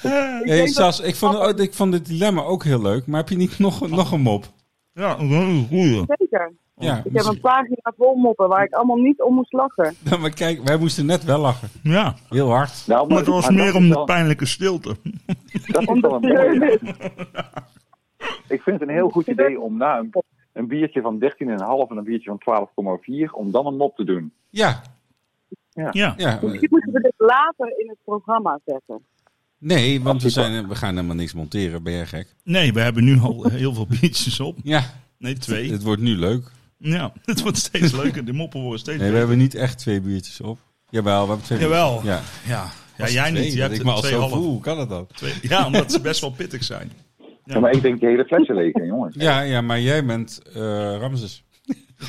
Hé hey, Sas, ik vond, oh, ik vond dit dilemma ook heel leuk. Maar heb je niet nog, nog een mop? Ja, dat is een goeie. Zeker. Ja, Ik heb een pagina vol moppen waar ik allemaal niet om moest lachen. misschien- maar kijk, wij moesten net wel lachen. Ja. Heel hard. Nou, Maar het was maar dat meer is om de wel- pijnlijke stilte. Dat is wel een mooie. Ik vind het een heel goed idee om na een, een biertje van 13,5 en een biertje van 12,4 om dan een mop te doen. Ja, Ja. ja. Misschien moeten we dit later in het programma zetten. Nee, want we, zijn, we gaan helemaal niks monteren. Ben jij gek? Nee, we hebben nu al heel veel biertjes op. Ja, Nee, twee. het wordt nu leuk. Ja, het wordt steeds leuker. De moppen worden steeds Nee, we leuker. hebben niet echt twee biertjes op. Jawel, we hebben twee Jawel. biertjes. Ja. Ja. Ja, jij niet. Twee, Jij dat hebt ik me al twee zo voel. halve. Hoe kan dat dan? Twee- Ja, omdat ze best wel pittig zijn. Ja, maar ik denk de hele flesje leeg, hè, jongens. Ja, ja maar jij bent eh, Ramses.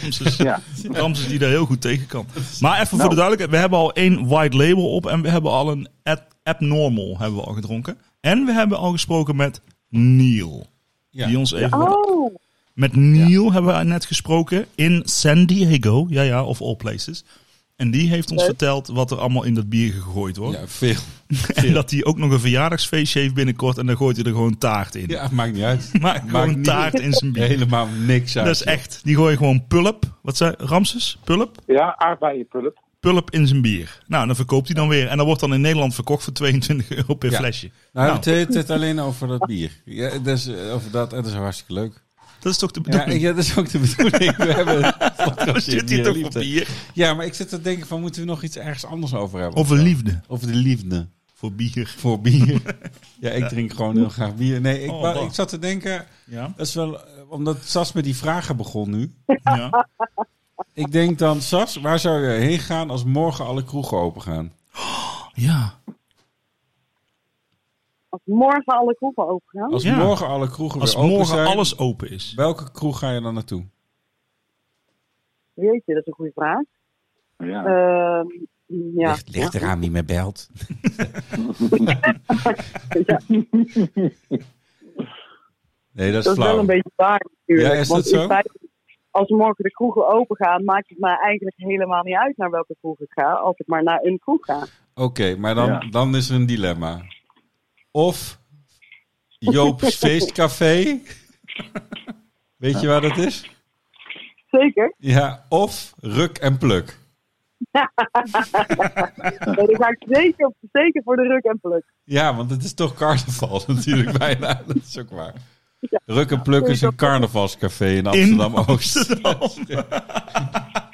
Ramses, Ja. Ramses die daar heel goed tegen kan. Maar even voor de duidelijkheid. We hebben al één white label op. En we hebben al een ad- abnormal hebben we al gedronken. En we hebben al gesproken met Neil. Ja. Die ons even... Oh, Met Neil hebben we net gesproken in San Diego. Ja, ja, of all places. En die heeft ons Leuk. verteld wat er allemaal in dat bier gegooid wordt. Ja, veel. en dat hij ook nog een verjaardagsfeestje heeft binnenkort. En dan gooit hij er gewoon taart in. Ja, maakt niet uit. Maar gewoon niet- taart in zijn bier. Helemaal niks uit. Dat is echt. Die gooien gewoon pulp. Wat zei Ramses? Pulp? Ja, aardbeienpulp. Pulp in zijn bier. Nou, dan verkoopt hij dan weer. En dat wordt dan in Nederland verkocht voor 22 euro per Ja. flesje. Nou, Nou, het heeft het alleen over dat bier. Ja, dat is, eh, over dat, en dat is hartstikke leuk. dat is toch de Ja, bedoeling? ja, dat is ook de bedoeling. We hebben een Dan podcast zit hier toch voor liefde. bier? Ja, maar ik zit te denken van, moeten we nog iets ergens anders over hebben? Over liefde. Over de liefde. Voor bier. voor bier. ja, ik drink gewoon heel graag bier. Nee, ik, Oh, wou- wacht. ik zat te denken, Ja. dat is wel, eh, omdat Sas met die vragen begon nu. ja. Ik denk dan, Sas, waar zou je heen gaan als morgen alle kroegen open gaan? Ja. als morgen alle kroegen open gaan. Als Ja. morgen alle kroegen Als weer open morgen zijn, alles open is. welke kroeg ga je dan naartoe? Jeetje, dat is een goede vraag. Ja. Ehm, ja. eraan wie me belt. Nee, dat is Dat is wel flauw. een beetje waar natuurlijk. Ja, is Want dat zo? in feite, als morgen de kroegen open gaan, maakt het mij eigenlijk helemaal niet uit naar welke kroeg ik ga. Als ik maar naar een kroeg ga. Oké, maar dan, Ja. dan is er een dilemma. Of Joop's Feestcafé. Weet je waar dat is? Zeker. Ja, of Ruk en Pluk. Nee, dan ga ik zeker, zeker voor de ruk en pluk. Ja, want het is toch carnaval natuurlijk bijna. Dat is ook waar. Ruk en Pluk is een carnavalscafé in Amsterdam-Oost.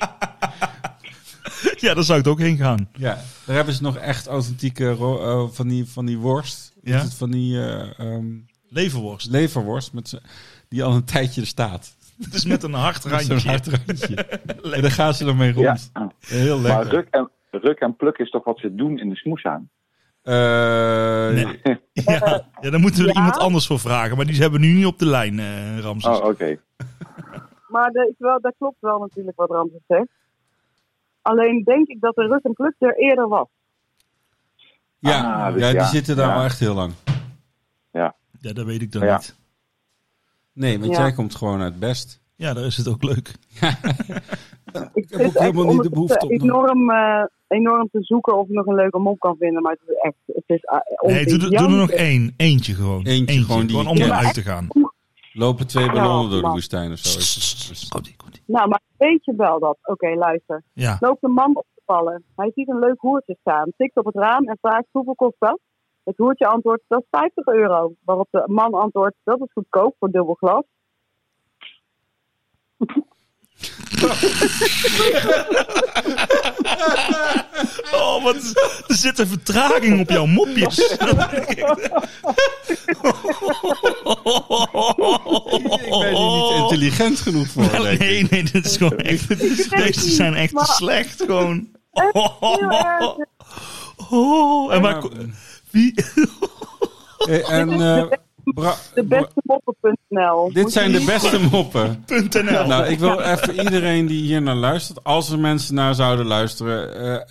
Ja, daar zou ik ook heen gaan. Ja, daar hebben ze nog echt authentieke ro- eh, van, die, van die worst. Ja. Is het van die eh, ehm, Leverworst. leverworst met z'n- die al een tijdje er staat. Het is met een hard randje. Zo'n hard randje. En daar gaan ze dan mee rond. Ja. Ah. Heel Maar lekker. ruk en, ruk en pluk is toch wat ze doen in de smoeshaan? Eh, Nee. Ja. ja, daar moeten we Ja? iemand anders voor vragen. Maar die hebben we nu niet op de lijn, eh Ramses. Oh, oké. Maar de, ik wel, dat klopt wel natuurlijk wat Ramses zegt. Alleen denk ik dat de Rus en Pluk er eerder was. Ja, Ah, dus ja, die ja. zitten daar Ja. wel echt heel lang. Ja, dat weet ik dan Ja. niet. Nee, want Ja. jij komt gewoon uit Best. Ja, daar is het ook leuk. Ik heb ook zit echt helemaal niet de ondertussen behoefte om nog- enorm, eh, enorm te zoeken of ik nog een leuke mop kan vinden. Maar het is echt... Het is, eh, om Nee, te doe, doe er janken. nog één. Eentje gewoon. Eentje gewoon die om je eruit kent. te gaan. Lopen twee ballonnen door de man. woestijn of zo. is het. Dus- Komt-ie, komt-ie. Nou, maar weet je wel dat? Oké, luister. Ja. Loopt een man op te vallen. Hij ziet een leuk hoertje staan. Tikt op het raam en vraagt hoeveel kost dat? Het hoertje antwoordt, dat is 50 euro. Waarop de man antwoordt, dat is goedkoop voor dubbel glas. Oh, wat is- er zit een vertraging op jouw mopjes. Ik ben hier niet intelligent genoeg voor. denk ik. Nee, nee, dit is gewoon echt. Deze zijn echt te slecht, gewoon. Heel erg. Oh, en waar, wie, Eh, En, eh, Bra- De beste moppen.nl. dit zijn de beste moppen. .nl. Nou, ik wil even iedereen die hier naar luistert, als er mensen naar zouden luisteren, eh,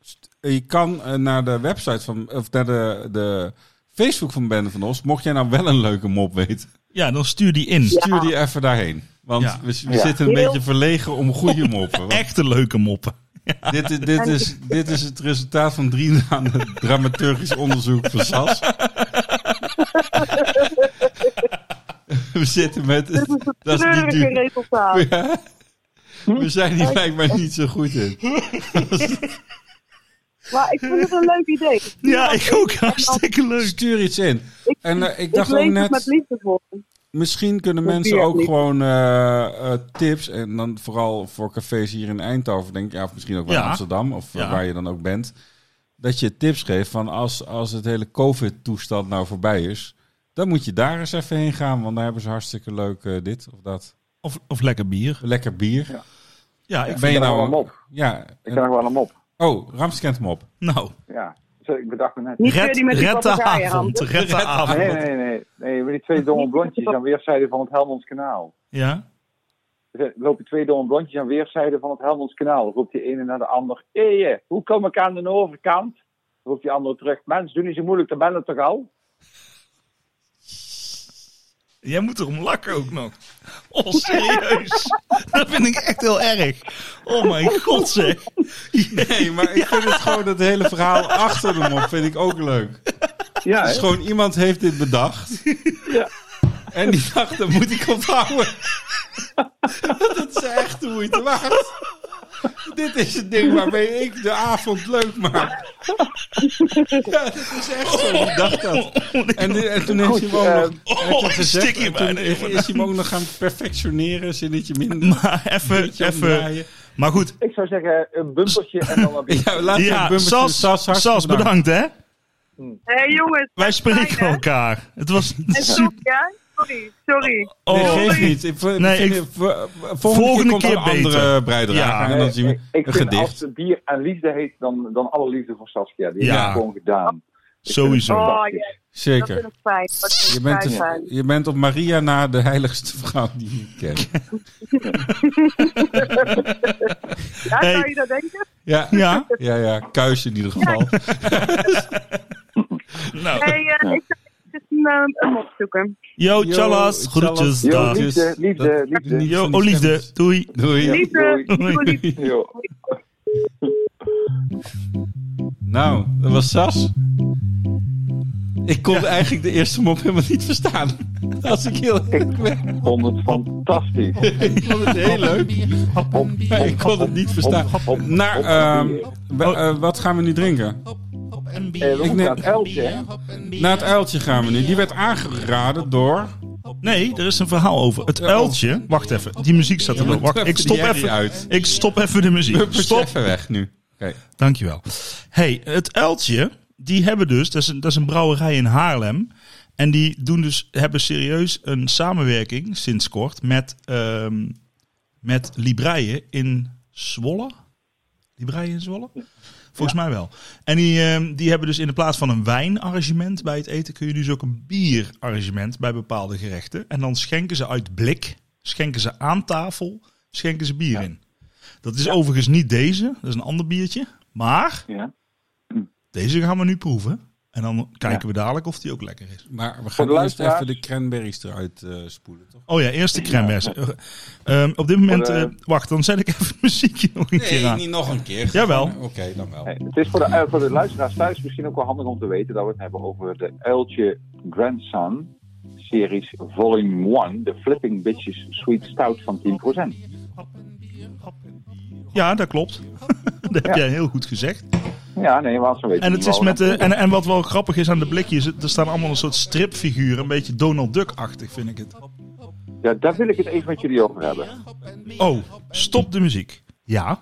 st- je kan eh, naar de website van, of naar de, de Facebook van Ben van Os. Mocht jij nou wel een leuke mop weten, Ja, dan stuur die in. stuur die even daarheen. Want Ja. we, we Ja. zitten een Heel- beetje verlegen om goede moppen. Want Echte leuke moppen. dit, is- dit, is, dit is het resultaat van drie maanden dramaturgisch onderzoek van SAS. We zitten met... Dit is het Dat is niet treurige Hm? duur. resultaat. Ja. We zijn hier blijkbaar niet zo goed in. Hm? Maar ik vind het een leuk idee. Ja, ik ook. Hartstikke leuk. Stuur iets in. Ik, En eh, ik dacht lees ook het met net, liefde voor. misschien kunnen Probeer mensen het ook niet. gewoon eh, eh, tips, en dan vooral voor cafés hier in Eindhoven, denk ik, ja, of misschien ook wel Ja. in Amsterdam, of eh, Ja. waar je dan ook bent, dat je tips geeft van als, als het hele COVID-toestand nou voorbij is, dan moet je daar eens even heen gaan, want daar hebben ze hartstikke leuk eh, dit of dat. Of, of lekker bier. Lekker bier. Ja, ik, Ben Ik je nou... heb nog wel een mop. Ja. Ik heb nog wel een mop. Oh, Rams kent hem op. nou, Ja, Zo, ik bedacht me net. Niet weer red, die met die red de papegaaien, avond. Hans. Red de Nee, avond. nee, nee. nee maar die twee domme blondjes aan weerszijden van het Helmonds Kanaal. Ja? Er lopen twee domme blondjes aan weerszijden van het Helmonds Kanaal. Dan roept die ene naar de ander. Hé, eh, hoe kom ik aan de overkant? Dan roept die andere terug. Mens, doe niet zo moeilijk, dan ben ik toch al? Jij moet erom lakken ook nog. Oh, serieus. Dat vind ik echt heel erg. Oh mijn god zeg. Nee, maar ik vind het gewoon dat hele verhaal achter de mop vind ik ook leuk. Ja, Dus gewoon iemand heeft dit bedacht. En die dacht, dat moet ik onthouden. dat is echt de moeite waard. Dit is het ding waarmee ik de avond leuk maak. Ja, dat is echt zo. Ik dacht dat. En, dit- en toen heeft hij hem ook nog... Oh, heeft hij ik gezegd, stik hier en toen bijna, is jongen. hij hem ook nog gaan perfectioneren, zinnetje minder. Maar even, beetje even. omdraaien. Maar goed. ik zou zeggen een bumpertje en dan een beetje. Ja, laat Ja, bumpertje. Sas, Sas, hartelijk Sas bedankt hè. Hé jongens. Wij spreken fijn, hè? elkaar. Het was En super. sorry, hè? sorry, sorry. Nee, Oh, geeft niet. Ik, nee, Nee, ik, ik- volgende, volgende keer komt er keer een andere beter. bijdrage. Ja. en dan zien Eh, ik we ik een vind als gedicht. het bier en liefde heet, dan, dan alle liefde voor Saskia. Die Ja. heeft het gewoon gedaan. Ik vind het Sowieso. Oh, fantastisch. ja, dat vind Zeker. ik fijn. Dat vind Je ik bent, vrij de, fijn. je bent op Maria na de heiligste vrouw die je kent. Ja, Hey. zou je dat denken? Ja, Ja. ja, ja. Kuis in ieder geval. Nou. Hey, eh, ik ga even een, eh, een mop zoeken. Yo, Yo, tjallas. tjallas. Groetjes. Yo, dag. lief. liefde, Dat- liefde, dat- liefde. Yo, Van die oh liefde. stemmetjes. Doei. Doei. Ja. Liefde, Doei. doe lief. Yo. Nou, dat was Sas. Ik kon eigenlijk de eerste mop helemaal niet verstaan. Als ik heel eerlijk ben. vond het fantastisch. Ik vond het heel leuk. Maar ik kon het niet verstaan. Naar, ehm, we- eh, wat gaan we nu drinken? Eh, we Ik neem- moeten naar het uiltje, hè? Naar het uiltje gaan we nu. Die werd aangeraden door... Nee, er is een verhaal over. Het uiltje. Wacht even. Die muziek zat er wel. Wacht, ik stop Jerry even. uit. Ik stop even de muziek. Puppers Stop. even weg nu. Oké. Dankjewel. Hey, het uiltje. Die hebben dus, dat is, een, dat is een brouwerij in Haarlem. En die doen dus, hebben serieus een samenwerking sinds kort met, ehm, met Libreien in Zwolle. Libreien in Zwolle? Volgens mij wel. En die, ehm, die hebben dus in de plaats van een wijnarrangement bij het eten, kun je dus ook een bierarrangement bij bepaalde gerechten. En dan schenken ze uit blik, schenken ze aan tafel, schenken ze bier in. Dat is overigens niet deze, dat is een ander biertje. Maar Ja. deze gaan we nu proeven. En dan kijken we dadelijk of die ook lekker is. Maar we gaan de eerst luisteraars- even de cranberries eruit eh, spoelen, toch? Oh ja, eerst de crème bes. Eh, ehm, op dit moment, Voor de- eh, wacht, dan zet ik even het muziekje nog een keer aan. nog een keer. Jawel. Oké, dan wel. Nee, het is voor de, eh, voor de luisteraars thuis misschien ook wel handig om te weten dat we het hebben over de Uiltje Grandson series Volume 1, de Flipping Bitches Sweet Stout van 10%. Ja, dat klopt. dat heb jij heel goed gezegd. Ja, nee, maar zo weten En, het we is wel met, wat eh, we doen. en, en wat wel grappig is aan de blikjes, er staan allemaal een soort stripfiguren. Een beetje Donald Duck-achtig vind ik het. Ja, daar wil ik het even met jullie over hebben. Oh, stop de muziek. Ja.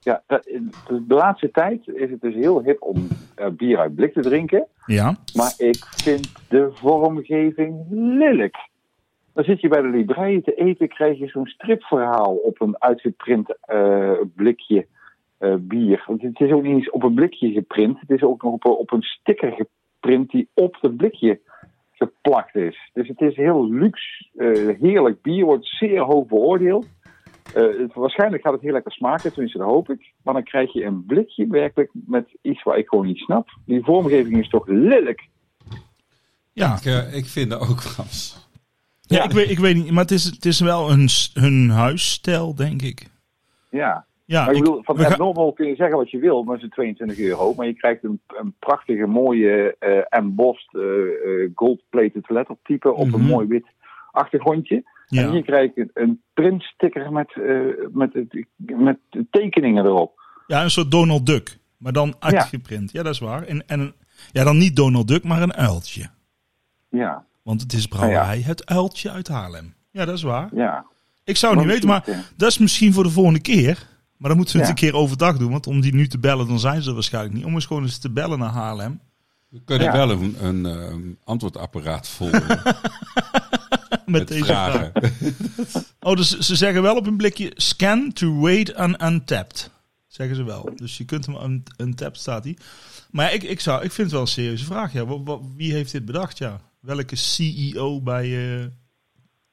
Ja, dat- de laatste tijd is het dus heel hip om eh, bier uit blik te drinken. Ja. Maar ik vind de vormgeving lelijk. Dan zit je bij de libraaien te eten, krijg je zo'n stripverhaal op een uitgeprint eh, blikje eh, bier. Want het is ook niet eens op een blikje geprint, het is ook nog op een, op een sticker geprint die op het blikje geplakt is. Dus het is heel luxe, eh, heerlijk bier, wordt zeer hoog beoordeeld. Eh, het- waarschijnlijk gaat het heel lekker smaken, tenminste dat hoop ik. Maar dan krijg je een blikje werkelijk met iets waar ik gewoon niet snap. Die vormgeving is toch lelijk? Ja, Ik, eh, ik vind er ook was. ja ik, weet, ik weet niet, maar het is, het is wel hun, s- hun huisstijl, denk ik. Ja. Ja, Maar ik bedoel, van Ah, we gaan- abnormal kun je zeggen wat je wil, maar het is 22 euro. Maar je krijgt een, een prachtige, mooie eh embossed eh, eh, gold-plated lettertype op Mhm. een mooi wit achtergrondje. En ja. hier krijg ik een, een printsticker met, eh, met, het- met tekeningen erop. Ja, een soort Donald Duck. Maar dan uitgeprint. Ja, dat is waar. En, en een- ja, dan niet Donald Duck, maar een uiltje. Ja, Want het is brouwerij Het Uiltje uit Haarlem. Ja, dat is waar. ja. Ik zou het Oh, niet weten, Maar maar misschien- dat is misschien voor de volgende keer. Maar dan moeten we het Ja. een keer overdag doen. Want om die nu te bellen, dan zijn ze er waarschijnlijk niet. Om eens gewoon eens te bellen naar Haarlem. We kunnen Ja. wel een, een ehm, antwoordapparaat vol met, Met, deze vraag. vragen. Oh, dus ze zeggen wel op een blikje scan to wait and untapped. Zeggen ze wel. Dus je kunt hem un- untapped staat hij. Maar ja, ik, ik, zou, ik vind het wel een serieuze vraag. Ja. Wa- wa- wie heeft dit bedacht? Ja. Welke CEO bij eh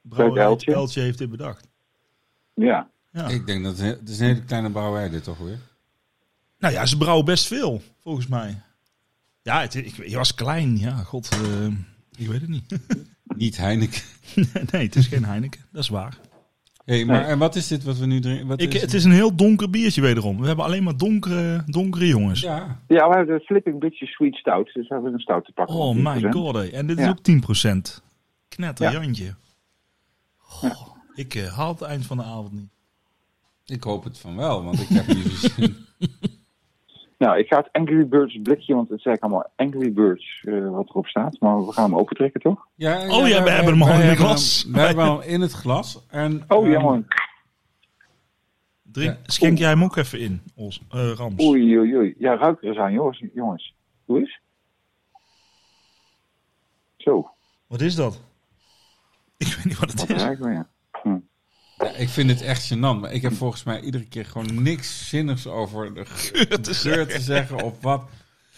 Brouwerij Uiltje? Het Uiltje heeft dit bedacht? eh, ja. Ja. Ik denk dat het het is een hele kleine brouwerij dit toch weer. Nou ja, ze brouwen best veel, volgens mij. Ja, het, ik, je was klein. Ja, god. eh, ik weet het niet. Niet Heineken. nee, het is geen Heineken. Dat is waar. Hey, maar en wat is dit wat we nu drinken? Wat Ik, is het is een heel donker biertje wederom. We hebben alleen maar donkere, donkere jongens. Ja, ja, we hebben de Flipping Bitches Sweet Stout, dus we hebben een stout te pakken. Oh van my 10%. god, hé. en dit Ja. is ook 10%. Knetter, Jantje. Goh, Ik eh, haal het eind van de avond niet. ik hoop het van wel, want ik heb hier zin. Nou, ik ga het Angry Birds blikje, want het is eigenlijk allemaal Angry Birds eh, wat erop staat. Maar we gaan hem opentrekken, toch? Ja, Oh ja, we wij- hebben hem al wij in het hebben glas. hem- We hebben hem al in het glas. En, Oh, ehm, jammer. Drink, Ja. Schenk jij hem ook even in, Os, eh, Rams? Oei, oei, oei. Ja, ruik er eens aan, jongens. jongens. Doe eens. Zo, Wat is dat? Ik weet niet wat het wat is. ruiken we? Ja. Ja, ik vind het echt gênant. Maar ik heb volgens mij iedere keer gewoon niks zinnigs over de geur te, zeggen. Of wat,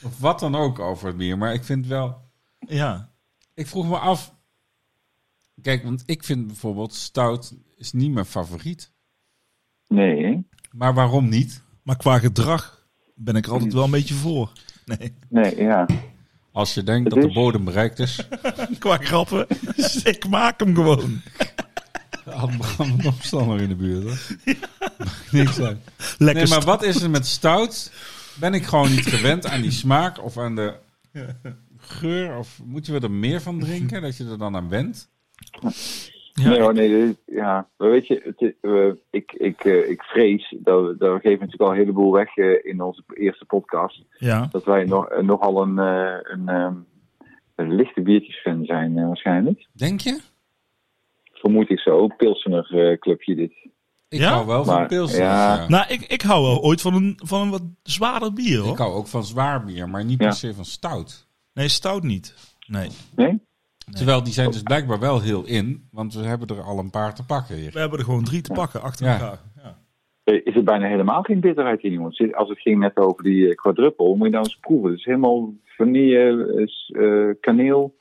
of wat dan ook over het bier. Maar ik vind wel... Ja. Ik vroeg me af... Kijk, want ik vind bijvoorbeeld stout is niet mijn favoriet. Nee, Maar waarom niet? Maar qua gedrag ben ik er altijd wel een beetje voor. Nee, nee, ja. Als je denkt Het dat de is- bodem bereikt is, qua grappen. ik maak hem gewoon. had Bram een opstander in de buurt. Hoor. Dus Maakt Niks uit. Lekker Nee, maar st- wat is er met stout? Ben ik gewoon niet gewend aan die smaak of aan de geur? Of moeten we er meer van drinken, dat je er dan aan wendt? Ja. Nee, hoor, nee, dit- ja. Maar weet je, het is- we- ik, ik, eh, ik vrees, dat we, dat we geven natuurlijk al een heleboel weg eh, in onze eerste podcast, Ja, dat wij nog, eh, nogal een, eh, een, ehm, een lichte biertjesfan zijn eh, waarschijnlijk. Denk je? Vermoed ik zo, pilsener eh, clubje dit. Ik Ja? hou wel van Maar, pils. dus, ja. nou ik, ik hou wel ooit van een, van een wat zwaarder bier Ik hoor. hou ook van zwaar bier, maar niet Ja. per se van stout. Nee, stout niet. Nee. Nee? Terwijl die zijn dus blijkbaar wel heel in, want we hebben er al een paar te pakken hier. We hebben er gewoon drie te pakken achter Ja. elkaar. Ja. Eh, Is er bijna helemaal geen bitterheid in, jongens. Als het ging net over die eh, quadruppel, moet je nou eens proeven. Het is helemaal vanille, is, eh, kaneel.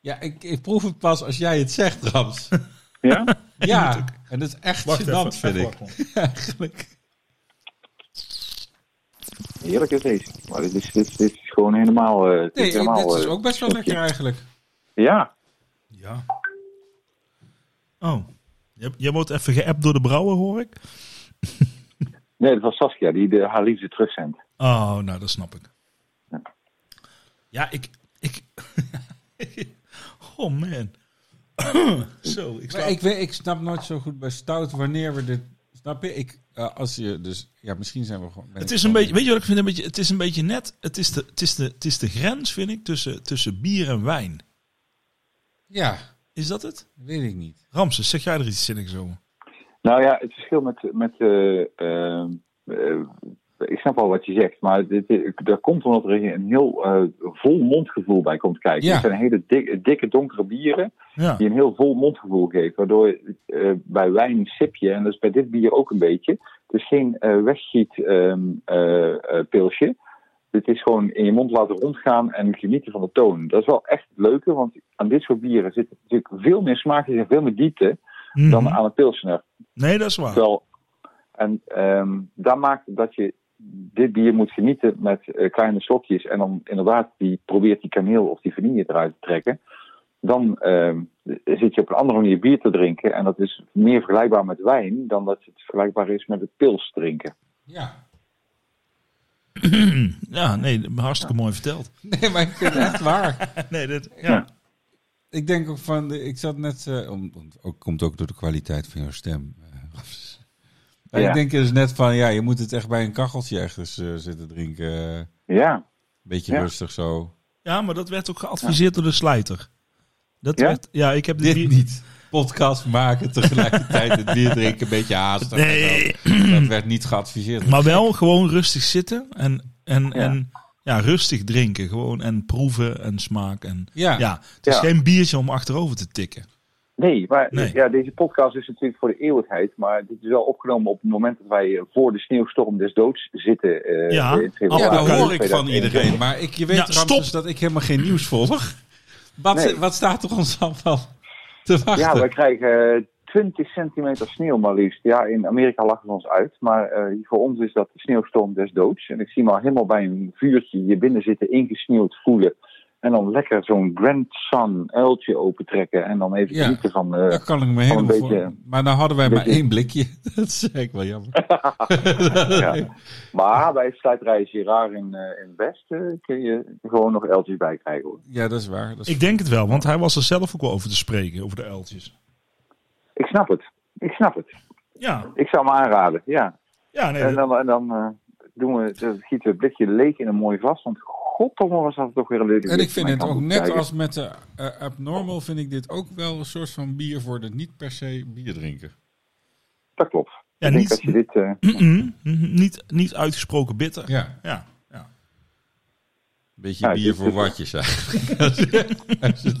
Ja, ik, ik proef het pas als jij het zegt, Rams. Ja? Ja, en dat is echt Wacht even, gênant, vind ik. wegwachten. Eigenlijk. Heerlijk is deze. Maar dit is, dit, is- dit is gewoon helemaal... eh, dit Nee, helemaal, dit is eh, ook best wel lekker eigenlijk. Ja. Ja. Oh. Jij- Jij wordt even geappt door de brouwer, hoor ik. Nee, dat was Saskia, die de, haar liefde terugzendt. Oh, nou, dat snap ik. Ja. Ja, ik... ik oh, man. Zo, ik sla... Maar ik, weet, ik snap nooit zo goed bij stout wanneer we dit... Snap je? Ik, eh, als je dus... Ja, misschien zijn we gewoon... ben Het ik is een gewoon- beetje, weet je wat ik vind? Een beetje, het is een beetje net, het is de, het is de, het is de grens, vind ik, tussen, tussen bier en wijn. Ja, Is dat het? weet ik niet. Ramses, zeg jij er iets zinnigs over? Nou ja, het verschil met... met eh, eh, eh, ik snap al wat je zegt, maar dit, dit- dat komt omdat er een heel eh, vol mondgevoel bij komt kijken. Ja. Het zijn hele dik- dikke, donkere bieren. Ja. die een heel vol mondgevoel geeft. Waardoor eh, bij wijn sip je, en dat is bij dit bier ook een beetje. Het is geen eh weggietpilsje. het eh, is gewoon in je mond laten rondgaan en genieten van de toon. Dat is wel echt het leuke, want aan dit soort bieren zit natuurlijk veel meer smaakjes en veel meer diepte dan Mhm. aan een pilsner. Nee, dat is Ah. waar. Terwijl, en ehm dat maakt dat je dit bier moet genieten met eh, kleine slokjes. En dan inderdaad, die probeert die kaneel of die vanille eruit te trekken. Dan ehm, zit je op een andere manier bier te drinken. En dat is meer vergelijkbaar met wijn dan dat het vergelijkbaar is met het pils drinken. Ja. Ja, nee, hartstikke mooi verteld. Nee, maar ik vind het echt waar. Nee, dit, ja. Ja. Ik denk ook van... de- ik zat net... eh, om, om- ook, komt ook door de kwaliteit van jouw stem. eh, Rams. Maar Ja. Ik denk dus net van... Ja, je moet het echt bij een kacheltje echt eens eh, zitten drinken. eh, Ja, beetje Ja. rustig zo. ja, maar dat werd ook geadviseerd door de slijter. Dat Ja? werd, ja, ik heb Dit bier- niet. Podcast maken, tegelijkertijd het bier drinken, een beetje haastig. en Nee. zo. Dat werd niet geadviseerd. Maar wel gewoon rustig zitten en, en, Ja. en ja, rustig drinken. Gewoon en proeven en smaak. En, Ja. ja, het is Ja. geen biertje om achterover te tikken. nee, maar Nee. Ja, deze podcast is natuurlijk voor de eeuwigheid. Maar dit is wel opgenomen op het moment dat wij eh, voor de sneeuwstorm des doods zitten. eh, Ja. in februari Ja, dat hoor ik van 2021. iedereen. Maar ik, je weet Ja, Ramses, Nou, stop. dat ik helemaal geen nieuws volg. Wat, Nee. wat staat er ons allemaal te wachten? Ja, wij krijgen eh, 20 centimeter sneeuw maar liefst. Ja, in Amerika lachen ze ons uit. Maar eh, voor ons is dat de sneeuwstorm des doods. En ik zie me al helemaal bij een vuurtje hier binnen zitten, ingesneeuwd voelen. En dan lekker zo'n grandson uiltje opentrekken. En dan even Ja. genieten van... eh, Daar kan ik me helemaal Al een voor. beetje- Maar nou hadden wij maar beetje- één blikje. Dat is eigenlijk wel jammer. ja. Maar bij Slijterij Girard in, eh, in West eh, kun je gewoon nog uiltjes bij krijgen. Hoor. Ja, dat is waar. Dat is- Ik denk het wel, want hij was er zelf ook wel over te spreken, over de uiltjes. Ik snap het. Ik snap het. Ja, Ik zou hem aanraden, ja. ja nee, En dan, en dan eh, doen we, dan gieten we het blikje leeg in een mooi vast. Want goddomme was dat toch weer een leuke en ik blik. vind Maar het kan ook goed net kijken. als met de eh, abnormal, vind ik dit ook wel een soort van bier voor de niet per se bier drinken. Dat klopt. Ja, ik denk niet- dat je dit... eh, Mm-mm, mm-mm, niet, niet uitgesproken bitter. Ja. Ja, ja. Beetje Ja, bier dit- voor dit- watjes eigenlijk.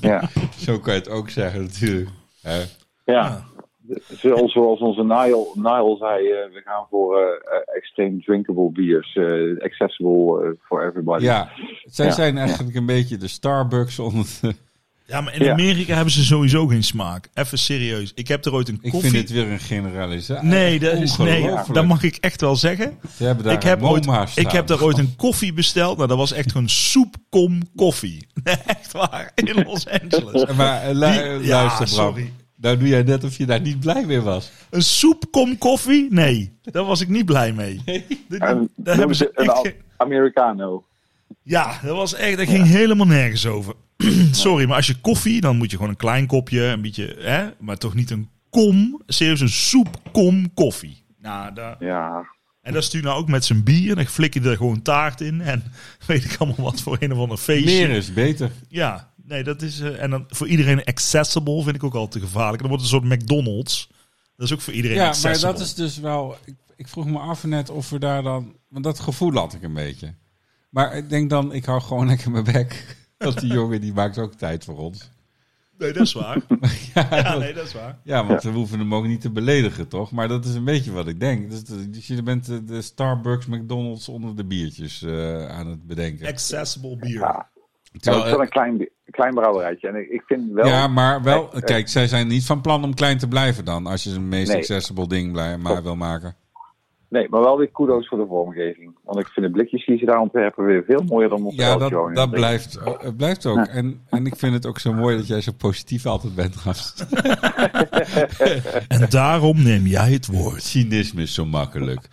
ja. Zo kan je het ook zeggen natuurlijk. Hè? Ja. Zoals, zoals onze Nile, Nile zei, eh, we gaan voor eh, eh, extreem drinkable biers. eh, accessible eh, for everybody. Ja, zij Ja, zijn eigenlijk een beetje de Starbucks onder de- Ja, maar in Ja. Amerika hebben ze sowieso geen smaak. Even serieus. Ik heb er ooit een Ik koffie... vind het weer een generalisatie. Nee, dat, is, nee, Ongelooflijk. dat mag ik echt wel zeggen. Ze hebben daar ik, heb een MoMA ooit, staan. ik heb daar ooit een koffie besteld. Nou, dat was echt gewoon soepkom koffie. Nee, echt waar. In Los Angeles. Maar eh, lu- Die- ja, luister Bram, sorry. nou doe jij net of je daar niet blij mee was. Een soepkom koffie? Nee, daar was ik niet blij mee. Dit- En daar hebben ze een echt Al- geen- Americano. Ja, dat was echt, dat ging helemaal nergens over. Sorry, maar als je koffie, dan moet je gewoon een klein kopje, een beetje, hè, maar toch niet een kom, serieus een soepkom koffie. Nou, daar, Ja. en dat stuur nou ook met zijn bier, en dan flik je er gewoon taart in en weet ik allemaal wat voor een of ander feestje. Meer is beter. Ja, nee, dat is, eh, en dan voor iedereen accessible vind ik ook al te gevaarlijk. Dan wordt het een soort McDonald's. Dat is ook voor iedereen Ja, maar accessible. dat is dus wel... Ik, ik vroeg me af net of we daar dan... Want dat gevoel had ik een beetje. Maar ik denk dan, ik hou gewoon lekker mijn bek. Want die jongen die maakt ook tijd voor ons. Nee, dat is waar. Ja, Ja, dat- nee, dat is waar. ja, want we hoeven hem ook niet te beledigen, toch? Maar dat is een beetje wat ik denk. Dus, de- dus je bent de, de Starbucks, McDonald's onder de biertjes eh, aan het bedenken. Accessible bier. Ja, Ja, Terwijl, het is wel eh, een klein, klein brouwerijtje. En ik, ik vind wel... ja, maar wel, Kijk, eh, kijk, zij zijn niet van plan om klein te blijven dan. Als je een meest Nee. accessible ding blij, maar Klopt. wil maken. Nee, maar wel weer kudo's voor de vormgeving. Want ik vind de blikjes die ze daar ontwerpen weer veel mooier dan op Ja, de dat, dat blijft, eh, het blijft ook. En, en ik vind het ook zo mooi dat jij zo positief altijd bent, gast. En daarom neem jij het woord. Cynisme is zo makkelijk.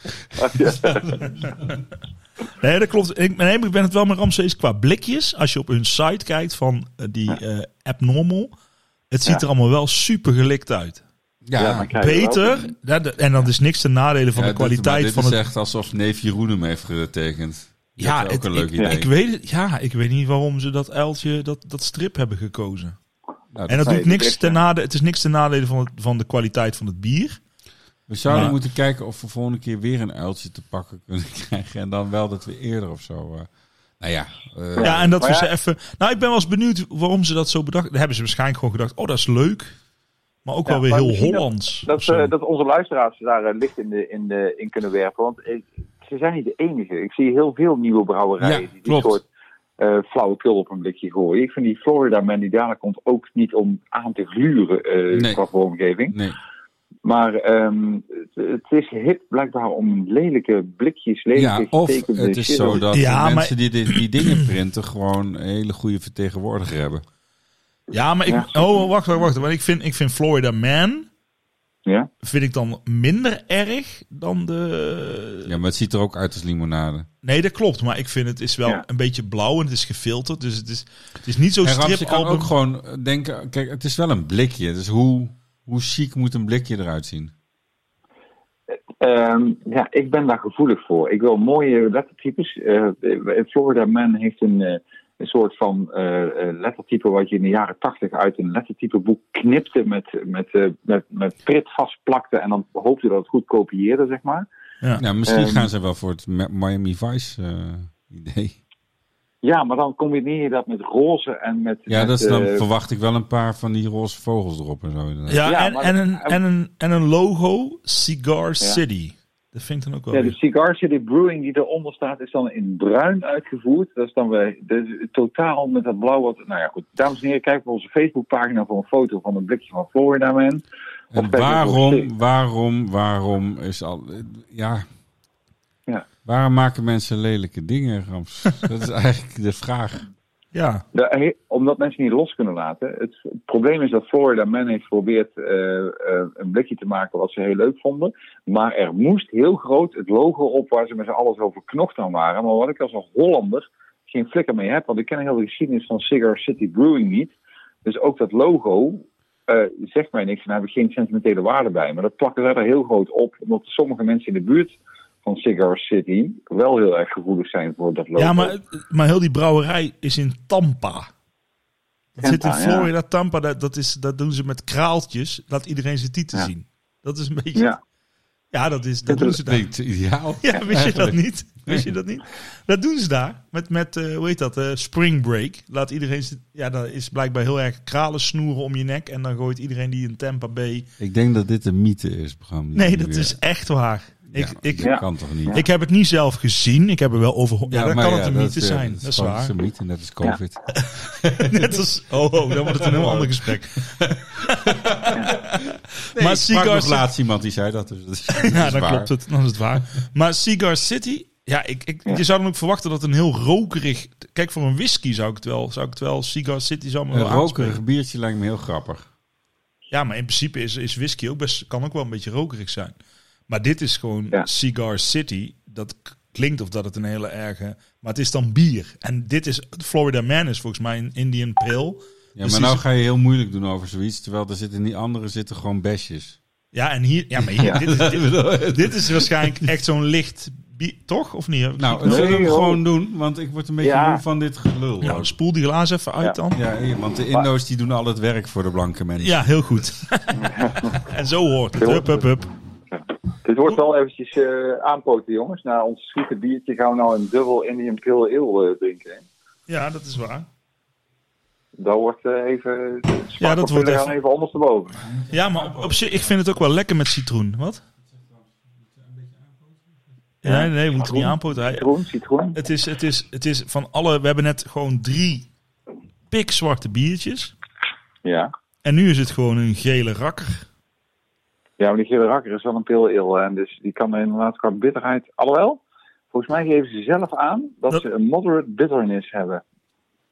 Nee, dat klopt. Ik, nee, maar ik ben het wel met Ramses qua blikjes. Als je op hun site kijkt van eh, die eh, abnormal. Het ziet Ja. er allemaal wel super gelikt uit. Ja, maar kijk, wel- Beter. ja, dat- en dat is niks ten nadele van Ja, de dit- maar kwaliteit dit van is het. echt alsof neef Jeroen hem heeft getekend. Dat ja, is ook het- een leuk ik, idee. ik weet het, ja, ik weet niet waarom ze dat uiltje, dat, dat strip hebben gekozen. Nou, En dat Nee, doet die niks blikjes. ten nadele. Het is niks ten nadele van, het, van de kwaliteit van het bier. we zouden maar- moeten kijken of we volgende keer weer een uiltje te pakken kunnen krijgen. En dan wel dat we eerder of zo. eh, nou ja, eh, Ja, en dat Maar we ja. ze even. Nou, ik ben wel eens benieuwd waarom ze dat zo bedacht. Daar hebben ze waarschijnlijk gewoon gedacht: oh, dat is leuk. Maar ook Ja, wel weer maar heel misschien dat- Hollands. Dat, of zo. eh, dat onze luisteraars daar eh, licht in, de, in, de, in kunnen werpen. Want eh, ze zijn niet de enige. Ik zie heel veel nieuwe brouwerijen Ja, die dit klopt. soort eh flauwekul op een blikje gooien. Ik vind die Florida Man die daarna komt ook niet om aan te gluren eh, Nee. qua vormgeving. nee. Maar ehm, het, het is hip blijkbaar om lelijke blikjes, lelijke ja, of getekende het is shit zo dat Ja, de maar- mensen die dit- die dingen printen gewoon een hele goede vertegenwoordiger hebben. Ja, maar ik. Ja. Oh, wacht, wacht, wacht. Want ik vind, ik vind Florida Man. Ja? Vind ik dan minder erg dan de. Ja, maar het ziet er ook uit als limonade. Nee, dat klopt. Maar ik vind het is wel Ja. een beetje blauw en het is gefilterd. Dus het is, het is niet zo'n En Rams, je kan stripalbum. ook gewoon eh, denken, kijk, het is wel een blikje. Dus hoe, hoe chic moet een blikje eruit zien? Ehm, ja, ik ben daar gevoelig voor. Ik wil mooie lettertypes. Eh, Florida Man heeft een, eh, een soort van eh, eh, lettertype wat je in de jaren tachtig uit een lettertypeboek knipte met, met, eh, met, met prit vastplakte en dan hoopte dat het goed kopieerde, zeg maar. Nou, misschien Ehm, gaan ze wel voor het Ma- Miami Vice eh, idee. Ja, maar dan combineer je dat met roze en met... Ja, met, dat is, dan eh, verwacht ik wel een paar van die roze vogels erop en zo. inderdaad. Ja, Ja, en, maar- en, een, en, een, en een logo Cigar City. Dat vind ik dan ook wel. Ja, dus- de weer- Cigar City Brewing die eronder staat is dan in bruin uitgevoerd. Dat is dan weer de, totaal met dat blauw. Wat, nou ja, goed. Dames en heren, kijk op onze Facebookpagina voor een foto van een blikje van Florida Man. Of En kijk op onze- waarom, waarom, waarom is al... eh, Ja. Ja. Waarom maken mensen lelijke dingen, Rams? Dat is eigenlijk de vraag. Ja. De- eh, omdat mensen niet los kunnen laten. Het probleem is dat Florida Man heeft geprobeerd eh, eh, een blikje te maken wat ze heel leuk vonden. Maar er moest heel groot het logo op waar ze met z'n allen zo verknocht aan waren. Maar wat ik als een Hollander geen flikker mee heb, want ik ken heel de geschiedenis van Cigar City Brewing niet. Dus ook dat logo eh, zegt mij niks en daar heb ik geen sentimentele waarde bij. Maar dat plakken zij er heel groot op, omdat sommige mensen in de buurt van Cigar City wel heel erg gevoelig zijn voor dat logo. ja, maar, maar heel die brouwerij is in Tampa. Dat zit in Tampa, ja. Florida, Tampa. Dat, dat, is, dat doen ze met kraaltjes. Laat iedereen zijn titel Ja. zien. Dat is een beetje. Ja. Ja, dat, is, dat doen ze daar. Klinkt ideaal. Ja, wist je dat Eigenlijk. niet? Wist je dat niet? Dat doen ze daar. Met, met eh, hoe heet dat? eh, spring break. Laat iedereen... z'n- Ja, dat is blijkbaar heel erg kralen snoeren om je nek. En dan gooit iedereen die in Tampa Bay... Ik denk dat dit een mythe is, Bram. die Nee, nu dat weer- is echt waar. Ik, Ja, ik, dat kan toch niet? ik heb het niet zelf gezien. Ik heb er wel over... Ja, dan maar kan het een dat mythe is, eh, zijn. Dat is gewoon- Het waar. is een mythe, net als COVID. Net als... Oh, oh, dan wordt het een heel ander gesprek. maar Ik sprak Cigar nog City... laatst iemand die zei dat. Dus dat is, dat is Ja, dan waar. klopt het. Dan is het waar. Maar Cigar City... Ja, ik, ik, je zou dan ook verwachten dat een heel rokerig... Kijk, voor een whisky zou ik het wel... Zou ik het wel Cigar City zou me Een wel aanspreken. rokerig biertje lijkt me heel grappig. Ja, maar in principe is, is whisky ook best, kan ook wel een beetje rokerig zijn. Maar dit is gewoon Ja. Cigar City. Dat k- klinkt of dat het een hele erge... Maar het is dan bier. En dit is... Florida Man is volgens mij een Indian Pale. Ja, Dus maar die nou is- ga je heel moeilijk doen over zoiets. Terwijl er zitten in die andere zitten gewoon besjes. Ja, en hier... Ja, maar hier, dit, is, dit, dit is waarschijnlijk echt zo'n licht... bier, toch? Of niet? Heb ik Nou, niet- zullen we hem joh. gewoon doen? Want ik word een beetje Ja. moe van dit gelul. Nou, spoel die glaas even uit dan. eh, Ja, hé, want de Indo's die doen al het werk voor de blanke mensen. Ja, heel goed. en zo hoort het. Hup, hup, hup. Het Het wordt wel eventjes eh, aanpoten, jongens. Na ons zoete biertje gaan we nou een dubbel Indian Pale Ale eh, drinken. hè. Ja, dat is waar. Dat wordt eh, even... Ja, dat wordt We gaan even- even ondersteboven. Ja, maar op, op zich, ik vind het ook wel lekker met citroen. Wat? Ja. Nee, nee, we moeten niet Citroen. aanpoten. Hij- Citroen, citroen. Het is, het, is, het is van alle... We hebben net gewoon drie pikzwarte biertjes. Ja. En nu is het gewoon een gele rakker. Ja, maar die gele rakker is wel een pil il. En dus die kan er inderdaad qua bitterheid. Alhoewel, volgens mij geven ze zelf aan dat, Dat- ze een moderate bitterness hebben.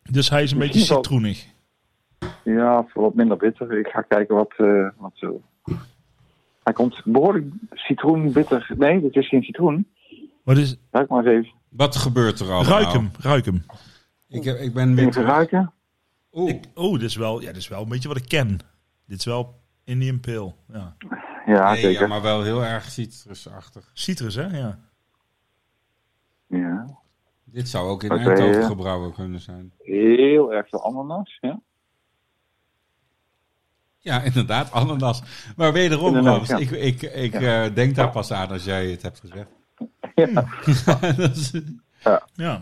Dus hij is een beetje Misschien wel. citroenig. Ja, voor wat minder bitter. Ik ga kijken wat. eh wat ze- Hij komt behoorlijk citroenbitter. Nee, dit is geen citroen. Wat is... Ruik maar eens even. Wat gebeurt er allemaal? Ruik hem, ruik hem. Ik, heb, ik ben weer Even terug. ruiken. Oeh, Ik, oh, dit is, wel, ja, dit is wel een beetje wat ik ken. Dit is wel Indian Pale. Ja. Ja, nee, ja, zeker. maar wel heel erg citrusachtig. Citrus, hè? Ja. Ja. Dit zou ook in Oké, Eindhoven ja. gebrouwen kunnen zijn. Heel erg de ananas. Ja. Ja, inderdaad, ananas. Maar wederom, Inderdaad, Robert, ja. ik, ik, ik eh, denk daar pas aan als jij het hebt gezegd. Ja. Dat is- Ja.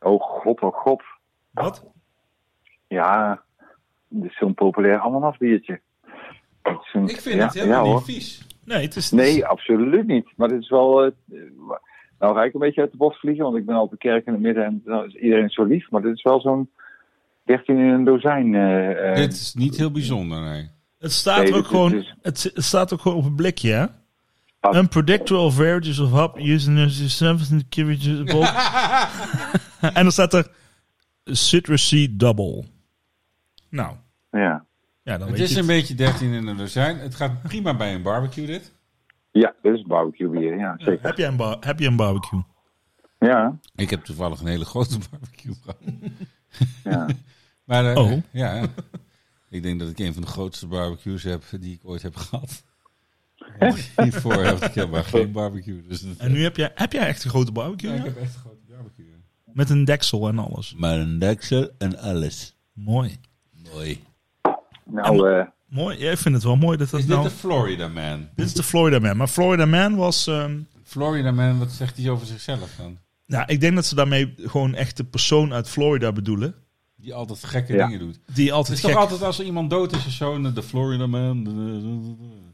Oh god, oh god. Wat? Ja, dit is zo'n populair ananasbiertje. Het is een- ik vind ja, het helemaal ja, niet hoor. vies. Nee, het is... Nee, absoluut niet. Maar dit is wel. eh, nou, ga ik een beetje uit de bocht vliegen, want ik ben al op een kerk in het midden en dan is iedereen zo lief. Maar dit is wel zo'n 13 in een dozijn. eh, eh, Dit is niet heel bijzonder, nee. Het staat Nee, dit ook is- gewoon... dit is- Het, het staat ook gewoon op een blikje, hè? Ah. Unpredictable varieties of hop using as a service in the carriage of both. En dan staat er citrusy double. Nou, ja. ja, dan Het weet is je een het. beetje 13 in een dozijn. Het gaat prima bij een barbecue, dit. ja, dit is barbecue bier. Ja, zeker. Heb jij een, bar- heb je een barbecue? Ja, Ik heb toevallig een hele grote barbecue gehad. ja. Maar eh, Oh. ja, ja. ik denk dat ik een van de grootste barbecues heb die ik ooit heb gehad. Want Hiervoor heb ik helemaal geen barbecue. Dus dat- En nu heb jij, heb jij echt een grote barbecue? Ja, ja? ik heb echt een grote barbecue. ja. Met een deksel en alles. Maar een deksel en alles. Mooi. Mooi. Nou, eh, Mooi. Ja, ik vind het wel mooi dat dat Is dit nou... de Florida Man? Dit is de Florida Man. Maar Florida Man was... ehm, Florida Man, wat zegt hij over zichzelf dan? nou, ik denk dat ze daarmee gewoon echt de persoon uit Florida bedoelen. Die altijd gekke Ja. dingen doet. Die Het altijd is gek... toch altijd als er iemand dood is of zo, de Florida Man. de- de- de- de-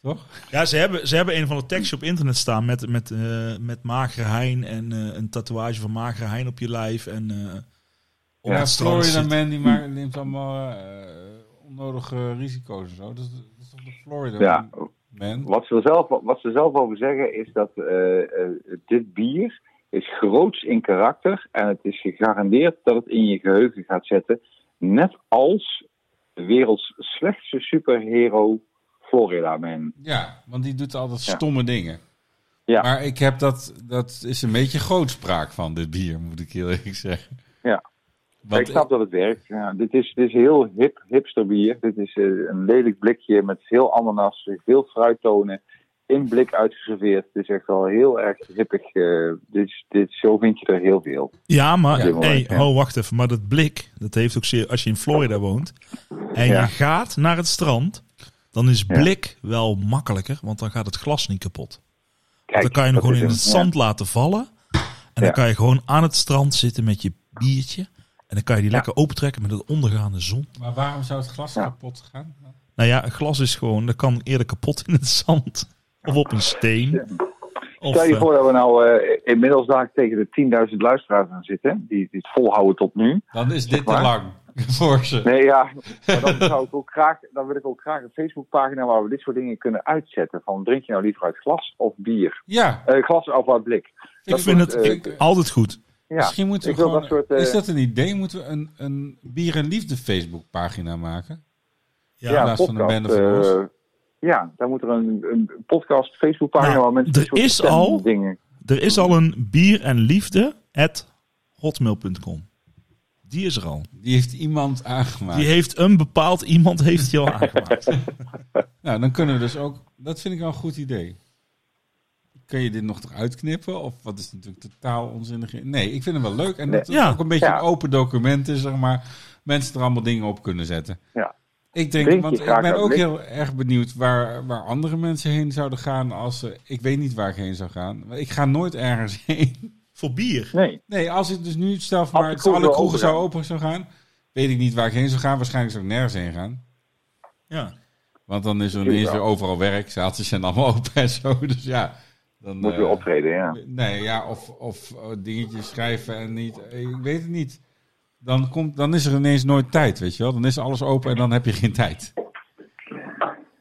Toch? Ja, ze hebben, ze hebben een van de tekstjes op internet staan met, met, eh, met magere hein en eh, een tatoeage van magere hein op je lijf. En, eh, op Ja, het strand Florida zit- Hm. Man die ma- neemt allemaal eh, onnodige risico's en zo. Dat is, dat is toch de Florida ja, Man? wat ze, er zelf, wat ze zelf over zeggen is dat eh, eh, dit bier is groots in karakter en het is gegarandeerd dat het in je geheugen gaat zetten. Net als de werelds slechtste superhero Florida Man. Ja, want die doet altijd Ja. stomme dingen. Ja. Maar ik heb dat, dat is een beetje grootspraak van dit bier, moet ik heel eerlijk zeggen. Ja. Want ik snap dat het werkt. Ja, dit, is, dit is heel hip, hipster bier. Dit is eh, een lelijk blikje met veel ananas, veel fruittonen. In blik uitgeserveerd. Het is echt wel heel erg hippig. eh, dit, is- dit, zo vind je er heel veel. Ja, maar Ja, hey, mooi, ja. oh, wacht even. Maar dat blik, dat heeft ook zeer... Als je in Florida woont en Ja. je gaat naar het strand, dan is Ja. blik wel makkelijker, want dan gaat het glas niet kapot. Kijk, dan kan je hem dat gewoon is in een- het zand laten vallen. En Ja. dan kan je gewoon aan het strand zitten met je biertje. En dan kan je die Ja. lekker opentrekken met het ondergaande zon. eh, Maar waarom zou het glas Ja. kapot gaan? Nou ja, een glas is gewoon, dat kan eerder kapot in het zand. Of op een steen. Of, Stel je eh, voor dat we nou eh, inmiddels daar tegen de 10.000 luisteraars aan zitten. Die, die het volhouden tot nu. Dan is dit te waar? lang voor ze. Nee, ja. Maar dan, zou ik ook graag, dan wil ik ook graag een Facebookpagina waar we dit soort dingen kunnen uitzetten. Van drink je nou liever uit glas of bier? Ja, Eh, glas of uit blik. ik vind het eh, ik- altijd goed. Ja. misschien moeten we ik wil gewoon... dat soort, eh, Is dat een idee? Moeten we een, een bier en liefde Facebook pagina maken? Ja, in plaats van een bende van eh, ons. ja, daar moet er een, een podcast, Facebookpagina Nou, waar mensen er dit soort is stem- al- dingen. Er is al een bier en liefde at hotmail.com. Die is er al. Die heeft iemand aangemaakt. Die heeft een bepaald iemand heeft die al aangemaakt. Nou, dan kunnen we dus ook... Dat vind ik wel een goed idee. Kun je dit nog eruit knippen? Of wat is natuurlijk totaal onzinnig? Nee, ik vind hem wel leuk. En dat het Ja. ook een beetje Ja. een open document is, zeg maar. Mensen er allemaal dingen op kunnen zetten. Ja. Ik denk, Drink je want ik graag ben dat ook licht? heel erg benieuwd waar, waar andere mensen heen zouden gaan als ze... Ik weet niet waar ik heen zou gaan. maar Ik ga nooit ergens heen. Voor bier. Nee. Nee, als ik dus nu zelf maar de het kroegen alle kroegen open zou gaan. open zou gaan, weet ik niet waar ik heen zou gaan. Waarschijnlijk zou ik nergens heen gaan. Ja. Want dan is er Natuurlijk ineens weer wel. overal werk. Zaaltjes zijn allemaal open en zo. Dus ja, dan... Moet eh, weer optreden, ja. Nee, ja, of, of eh, dingetjes schrijven en niet... eh, Ik weet het niet. Dan, komt, dan is er ineens nooit tijd, weet je wel. Dan is alles open en dan heb je geen tijd.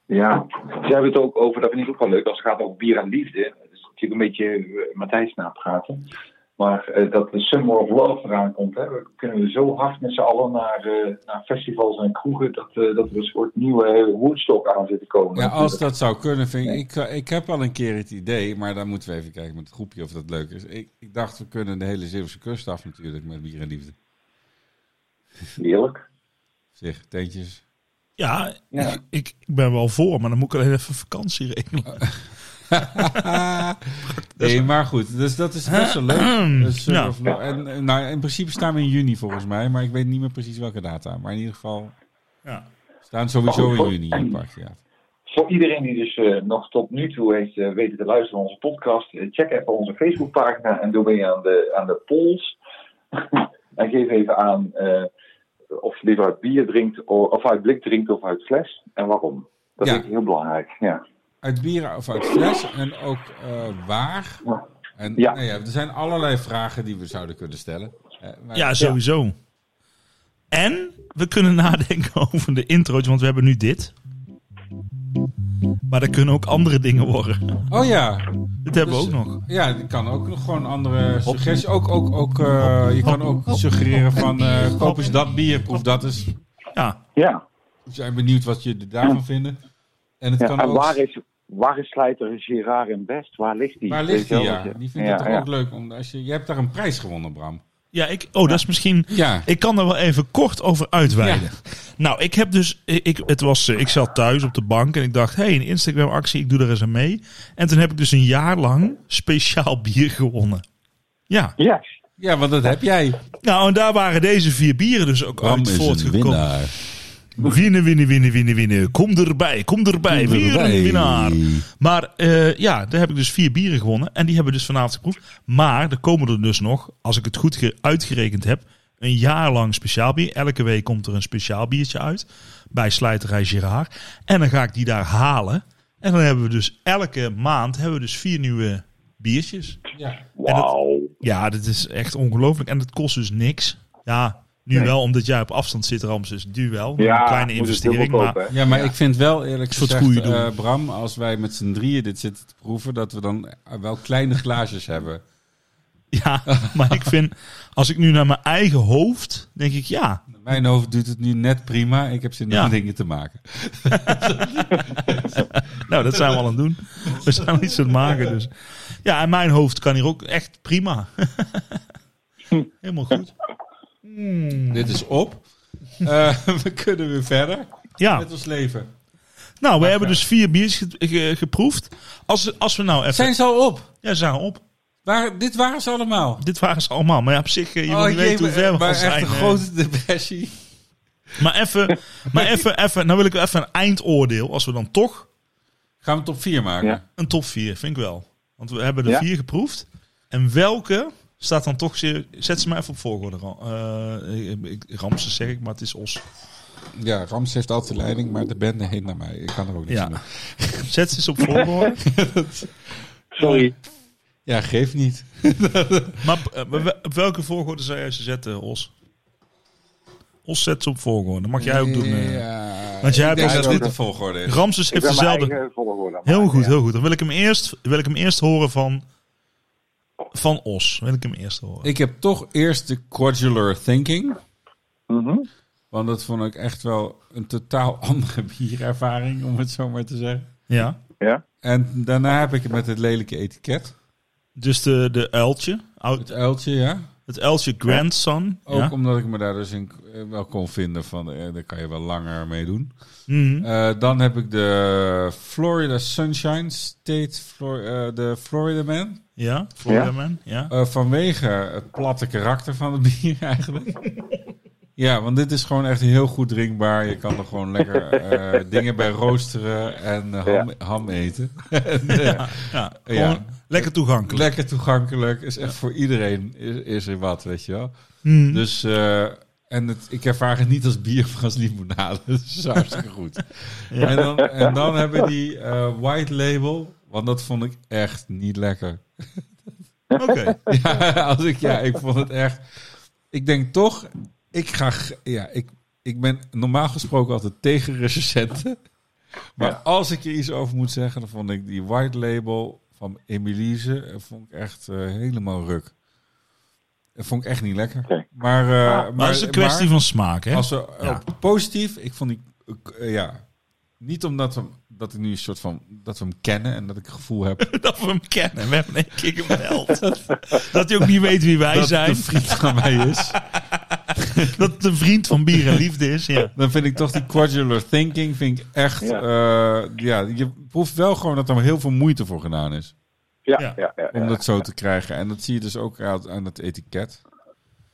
Ja. Ze hebben het ook over, dat vind ik ook wel leuk, als het gaat over bier en liefde. Dat is natuurlijk een beetje eh, Matthijs napraten. Maar eh, dat de Summer of Love eraan komt, hè, we kunnen zo hard met z'n allen naar, eh, naar festivals en kroegen, dat, eh, dat er een soort nieuwe eh, Woodstock aan zit te komen. Ja, als dat zou kunnen, vind ik, ik... Ik heb al een keer het idee, maar dan moeten we even kijken met het groepje of dat leuk is. Ik, ik dacht, we kunnen de hele Zeeuwse kust af natuurlijk met bier en liefde. Heerlijk. Zeg, tentjes. Ja, Ja. Ik, ik ben wel voor, maar dan moet ik alleen even vakantie regelen. Nee, maar goed, dus dat is best wel leuk. Dus, eh, Ja. of- en, eh, nou, in principe staan we in juni volgens mij, maar ik weet niet meer precies welke data. Maar in ieder geval Ja. staan sowieso Oh, in oh. juni in het park. Ja. Voor iedereen die dus eh, nog tot nu toe heeft eh, weten te luisteren naar onze podcast, eh, check even onze Facebookpagina en doe mee aan de, aan de polls. en geef even aan eh, of je liever uit bier drinkt, o- of uit blik drinkt of uit fles. En waarom. Dat Ja. vind ik heel belangrijk. Ja. Uit bier of uit fles en ook eh, waar. En, Ja. Nou ja, er zijn allerlei vragen die we zouden kunnen stellen. Eh, maar- ja, sowieso. En we kunnen nadenken over de intro's, want we hebben nu dit. Maar er kunnen ook andere dingen worden. Oh ja, Dit hebben Dus- we ook nog. Ja, je kan ook nog gewoon andere suggesties. Ook, ook, ook, eh, je kan ook suggereren van eh, koop eens dat bier, proef dat eens. Ja, ja. We zijn benieuwd wat jullie daarvan vinden. En het ja. kan En ook... waar is, waar is slijter Gerard in Best? Waar ligt die? waar Weet ligt je die? wel Ja, wat je- die vindt ja, het toch ja. ook leuk. Om, als je, je hebt daar een prijs gewonnen, Bram. ja ik, oh, dat is misschien... Ja. Ik kan er wel even kort over uitweiden. Nou, ik heb dus. Ik, het was, eh, ik zat thuis op de bank en ik dacht: hé, hey, een Instagram-actie, ik doe er eens aan mee. En toen heb ik dus een jaar lang speciaal bier gewonnen. Ja, Yes. Ja, want dat heb jij. nou en daar waren deze vier bieren dus ook uit voortgekomen. Winnen, winnen, winnen, winnen, winnen. Kom erbij, kom erbij. Kom Weer erbij. een winnaar. Maar eh, ja, daar heb ik dus vier bieren gewonnen. En die hebben we dus vanavond geproefd. Maar er komen er dus nog, als ik het goed ge- uitgerekend heb, een jaar lang speciaal bier. Elke week komt er een speciaal biertje uit bij Slijterij Girard. En dan ga ik die daar halen. En dan hebben we dus elke maand hebben we dus vier nieuwe biertjes. Ja. Wauw. Ja, dit is echt ongelooflijk. En het kost dus niks. Ja, nu wel, omdat jij op afstand zit, Rams. Dus nu wel. Ja, een kleine moet het heel investering. goedkoop, Maar hè? Ja, maar ik vind wel eerlijk Een soort gezegd, goeie doen. eh, Bram, als wij met z'n drieën dit zitten te proeven, dat we dan eh, wel kleine glaasjes hebben. Ja, maar ik vind, als ik nu naar mijn eigen hoofd, denk ik ja. In Mijn hoofd doet het nu net prima. Ik heb zin om Ja. dingen te maken. Nou, dat zijn we al aan het doen. We zijn al iets aan het maken. Dus. Ja, en mijn hoofd kan hier ook echt prima. Helemaal goed. Mm. Dit is op. Eh, we kunnen weer verder Ja, met ons leven. nou, we hebben dus vier biers ge- ge- geproefd. Als, als we nou even... Zijn ze al op? Ja, ze zijn op. Waar, dit waren ze allemaal. Dit waren ze allemaal. Maar ja, op zich, eh, je moet niet weten hoe Oh, maar, ver we maar al echt zijn. een eh. grote depressie. Maar even, maar even, even, nou wil ik even een eindoordeel. Als we dan toch Gaan we top 4 maken? Ja. Een top 4, vind ik wel. Want we hebben er Ja? vier geproefd. En welke staat dan toch... zeer- Zet ze maar even op volgorde. Ram- eh, ik- ik- Ramses zeg ik, maar het is Os. Ja, Rams heeft altijd de leiding, maar de bende heet naar mij. Ik kan er ook niks aan Ja. doen. Zet ze eens op volgorde. Sorry. Ja, geeft niet. maar eh, we- op welke volgorde zou jij ze zetten, Os? Os zet ze op volgorde. Mag jij ook doen. eh. Ja, Want jij ik hebt denk ook dat dat- dit de volgorde is. Ramses Ik heeft ben mijn dezelfde... eigen volgorde. aan het Heel maken, goed, ja. heel goed. Dan wil ik hem eerst, wil ik hem eerst horen van... Van Os. Wil ik hem eerst horen. Ik heb toch eerst de Quadular Thinking. Mhm. Want dat vond ik echt wel een totaal andere bierervaring, om het zo maar te zeggen. Ja. Ja. En daarna heb ik het met het lelijke etiket. Dus de, de uiltje. Ou- Het uiltje, ja. Het uiltje Grandson. Ook ja. omdat ik me daar dus in, eh, wel kon vinden van, eh, daar kan je wel langer mee doen. Mhm. Eh, dan heb ik de Florida Sunshine State, Flor- eh, de Florida Man. Ja, Florida Ja. Oh, Man. Ja. Eh, vanwege het platte karakter van het bier eigenlijk. Ja, want dit is gewoon echt heel goed drinkbaar. Je kan er gewoon lekker eh, dingen bij roosteren en eh, ham, ham eten. En, eh, Ja, Ja. gewoon lekker toegankelijk. Lekker toegankelijk. Is echt voor iedereen is, is er wat, weet je wel. Hmm. Dus, eh, en het, ik ervaar het niet als bier of als limonade. Dat is hartstikke goed. En, dan, en dan hebben we die eh, white label. Want dat vond ik echt niet lekker. Oké. Ja, als ik, ja, ik vond het echt... Ik denk toch, ik ga... g- Ja, ik, ik ben normaal gesproken altijd tegen recensenten. Maar als ik er iets over moet zeggen, dan vond ik die white label van Emilise... eh, vond ik echt eh, helemaal ruk. Dat vond ik echt niet lekker. Oké. Maar, eh, Maar het is een kwestie van smaak, hè? als we, Ja. eh, positief, ik vond die, eh, ja, niet omdat we, hem- dat ik nu een soort van, dat we hem kennen en dat ik het gevoel heb Dat we hem kennen. We hebben een keer gemeld. dat hij ook niet weet wie wij dat zijn. de vriend van mij is. dat het een vriend van bier en liefde is. Ja. Dan vind ik toch die quadrular thinking, vind ik echt, Ja. ja, ja je proeft wel gewoon dat er heel veel moeite voor gedaan is. Ja, Ja. ja, ja. ja, Om dat zo te krijgen. En dat zie je dus ook aan, aan het etiket.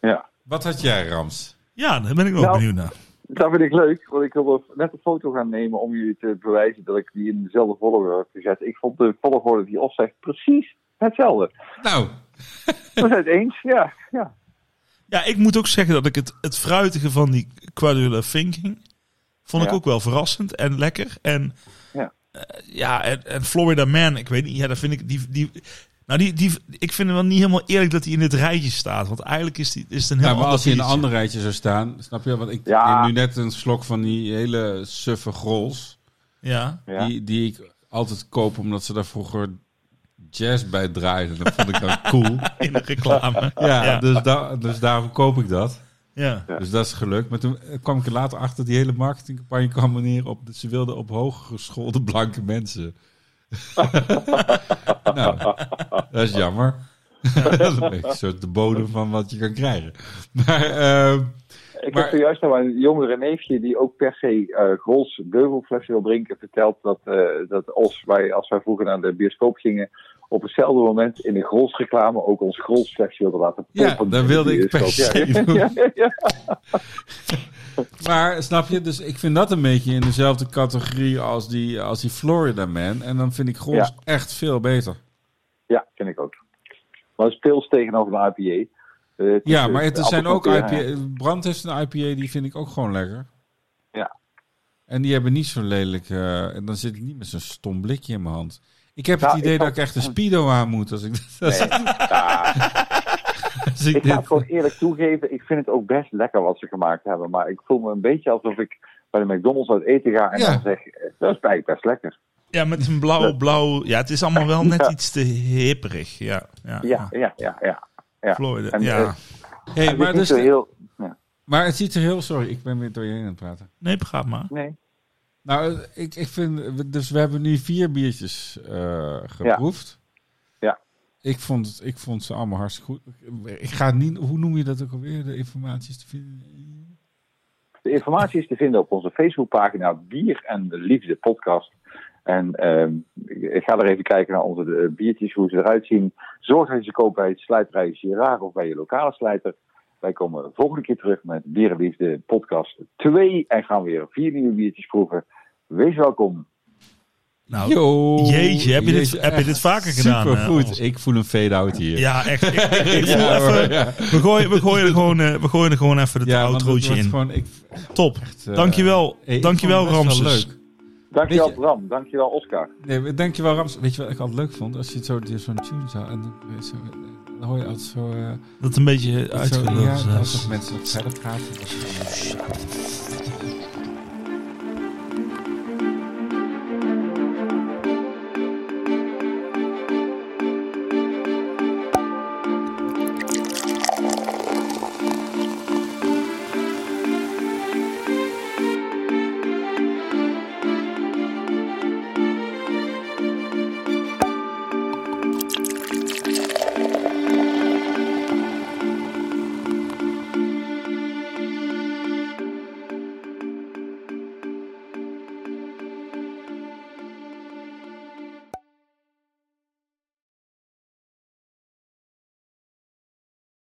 ja. Wat had jij, Rams? ja, daar ben ik ook Nou. benieuwd naar. Dat vind ik leuk, want ik wilde net een foto gaan nemen om jullie te bewijzen dat ik die in dezelfde volgorde heb gezet. Ik vond de volgorde die opzegt precies hetzelfde. Nou, We zijn het eens, ja. ja. Ja, ik moet ook zeggen dat ik het, het fruitige van die quadrular thinking... vond ik Ja. ook wel verrassend en lekker. En Ja. eh, ja, en, en Florida Man, ik weet niet. Ja, dat vind ik... Die, die, nou, die, die, ik vind het wel niet helemaal eerlijk dat hij in dit rijtje staat. Want eigenlijk is, die, is het een heel nou maar ander als je in een biertje. ander rijtje zou staan, snap je? Want ik Ja. neem nu net een slok van die hele suffe grols. Ja. ja. Die, die ik altijd koop omdat ze daar vroeger jazz bij draaiden. Dat vond ik dan cool. in de reclame. Ja, Ja. Dus, da- dus daarom koop ik dat. Ja. Dus dat is gelukt. Maar toen eh, kwam ik er later achter dat die hele marketingcampagne kwam er neer op dat ze wilden op hooggeschoolde blanke mensen. nou, dat is jammer. dat is een beetje zo de bodem van wat je kan krijgen. Maar ehm, Ik Maar- heb zojuist naar mijn jongere neefje, die ook per se eh Grols beuvelflessen wil drinken, verteld dat, eh, dat als, wij, als wij vroeger naar de bioscoop gingen, op hetzelfde moment in de Grols reclame ook ons Grols flesje wilden laten ja, pompen. dat wilde ik per Ja, se doen. Maar snap je, dus ik vind dat een beetje in dezelfde categorie als die, als die Florida Man. En dan vind ik Grols Ja. echt veel beter. Ja, vind ik ook. Maar het speels tegenover een IPA. Eh, het is, Ja, eh, maar het, er zijn ook appelkoek, ja, IPA. Brand heeft een IPA, die vind ik ook gewoon lekker. Ja. En die hebben niet zo'n lelijk. eh, en dan zit ik niet met zo'n stom blikje in mijn hand. Ik heb Nou, het idee ik dat had- ik echt een Speedo aan moet als ik. Als Nee. Ja, ik- als ik ik ga het dit, gewoon eerlijk toegeven, ik vind het ook best lekker wat ze gemaakt hebben. Maar ik voel me een beetje alsof ik bij de McDonald's uit eten ga en Ja. dan zeg, eh, dat is eigenlijk best lekker. Ja, met een blauw, blauw. Ja, het is allemaal wel net Ja. iets te hipperig. Ja, ja. Ja, ja, ja, ja. ja. Florida. En, ja. eh, hey, Het is maar, niet dus, zo heel... maar het ziet er heel. Sorry, ik ben weer door je heen aan het praten. nee, praat maar. Nee. Nou, eh, ik, ik vind. we- Dus we hebben nu vier biertjes eh, geproefd. Ja. Ik vond, het- ik vond ze allemaal hartstikke goed. Ik- Ik ga niet. Hoe noem je dat ook alweer? De informatie is te vinden. De informatie is te vinden op onze Facebookpagina Bier en de Liefde Podcast. En ehm, ik- ik ga er even kijken naar onze eh, biertjes, hoe ze eruit zien. Zorg dat je ze koopt bij het slijterij Giraar of bij je lokale slijter. Wij komen volgende keer terug met Bier en Liefde Podcast 2 en gaan weer vier nieuwe biertjes proeven. Wees welkom. Nou, Yo. Jeetje, heb je dit- heb je echt dit vaker gedaan, Super eh, Hans? goed. Ik voel een fade-out hier. ja, echt. Ik, ik- ik voel Ja, even- hoor, ja. we, gooien, we, gooien er gewoon, eh, we gooien er gewoon even het Ja, want het outrootje wordt in. Gewoon, ik, Top. echt, eh, Dankjewel. eh, ik Dankjewel, vond het best wel Ramses. leuk. Dankjewel Weet je- Bram, dankjewel Oscar. Nee, maar dankjewel, Ramses. Weet je wat ik altijd leuk vond? Als je het zo dit zo'n tune zou... En dan, weet je zo, eh, dan hoor je altijd zo... eh, Dat een beetje zo uitgelopen. ja, zelfs. als mensen nog verder praten. dat is allemaal-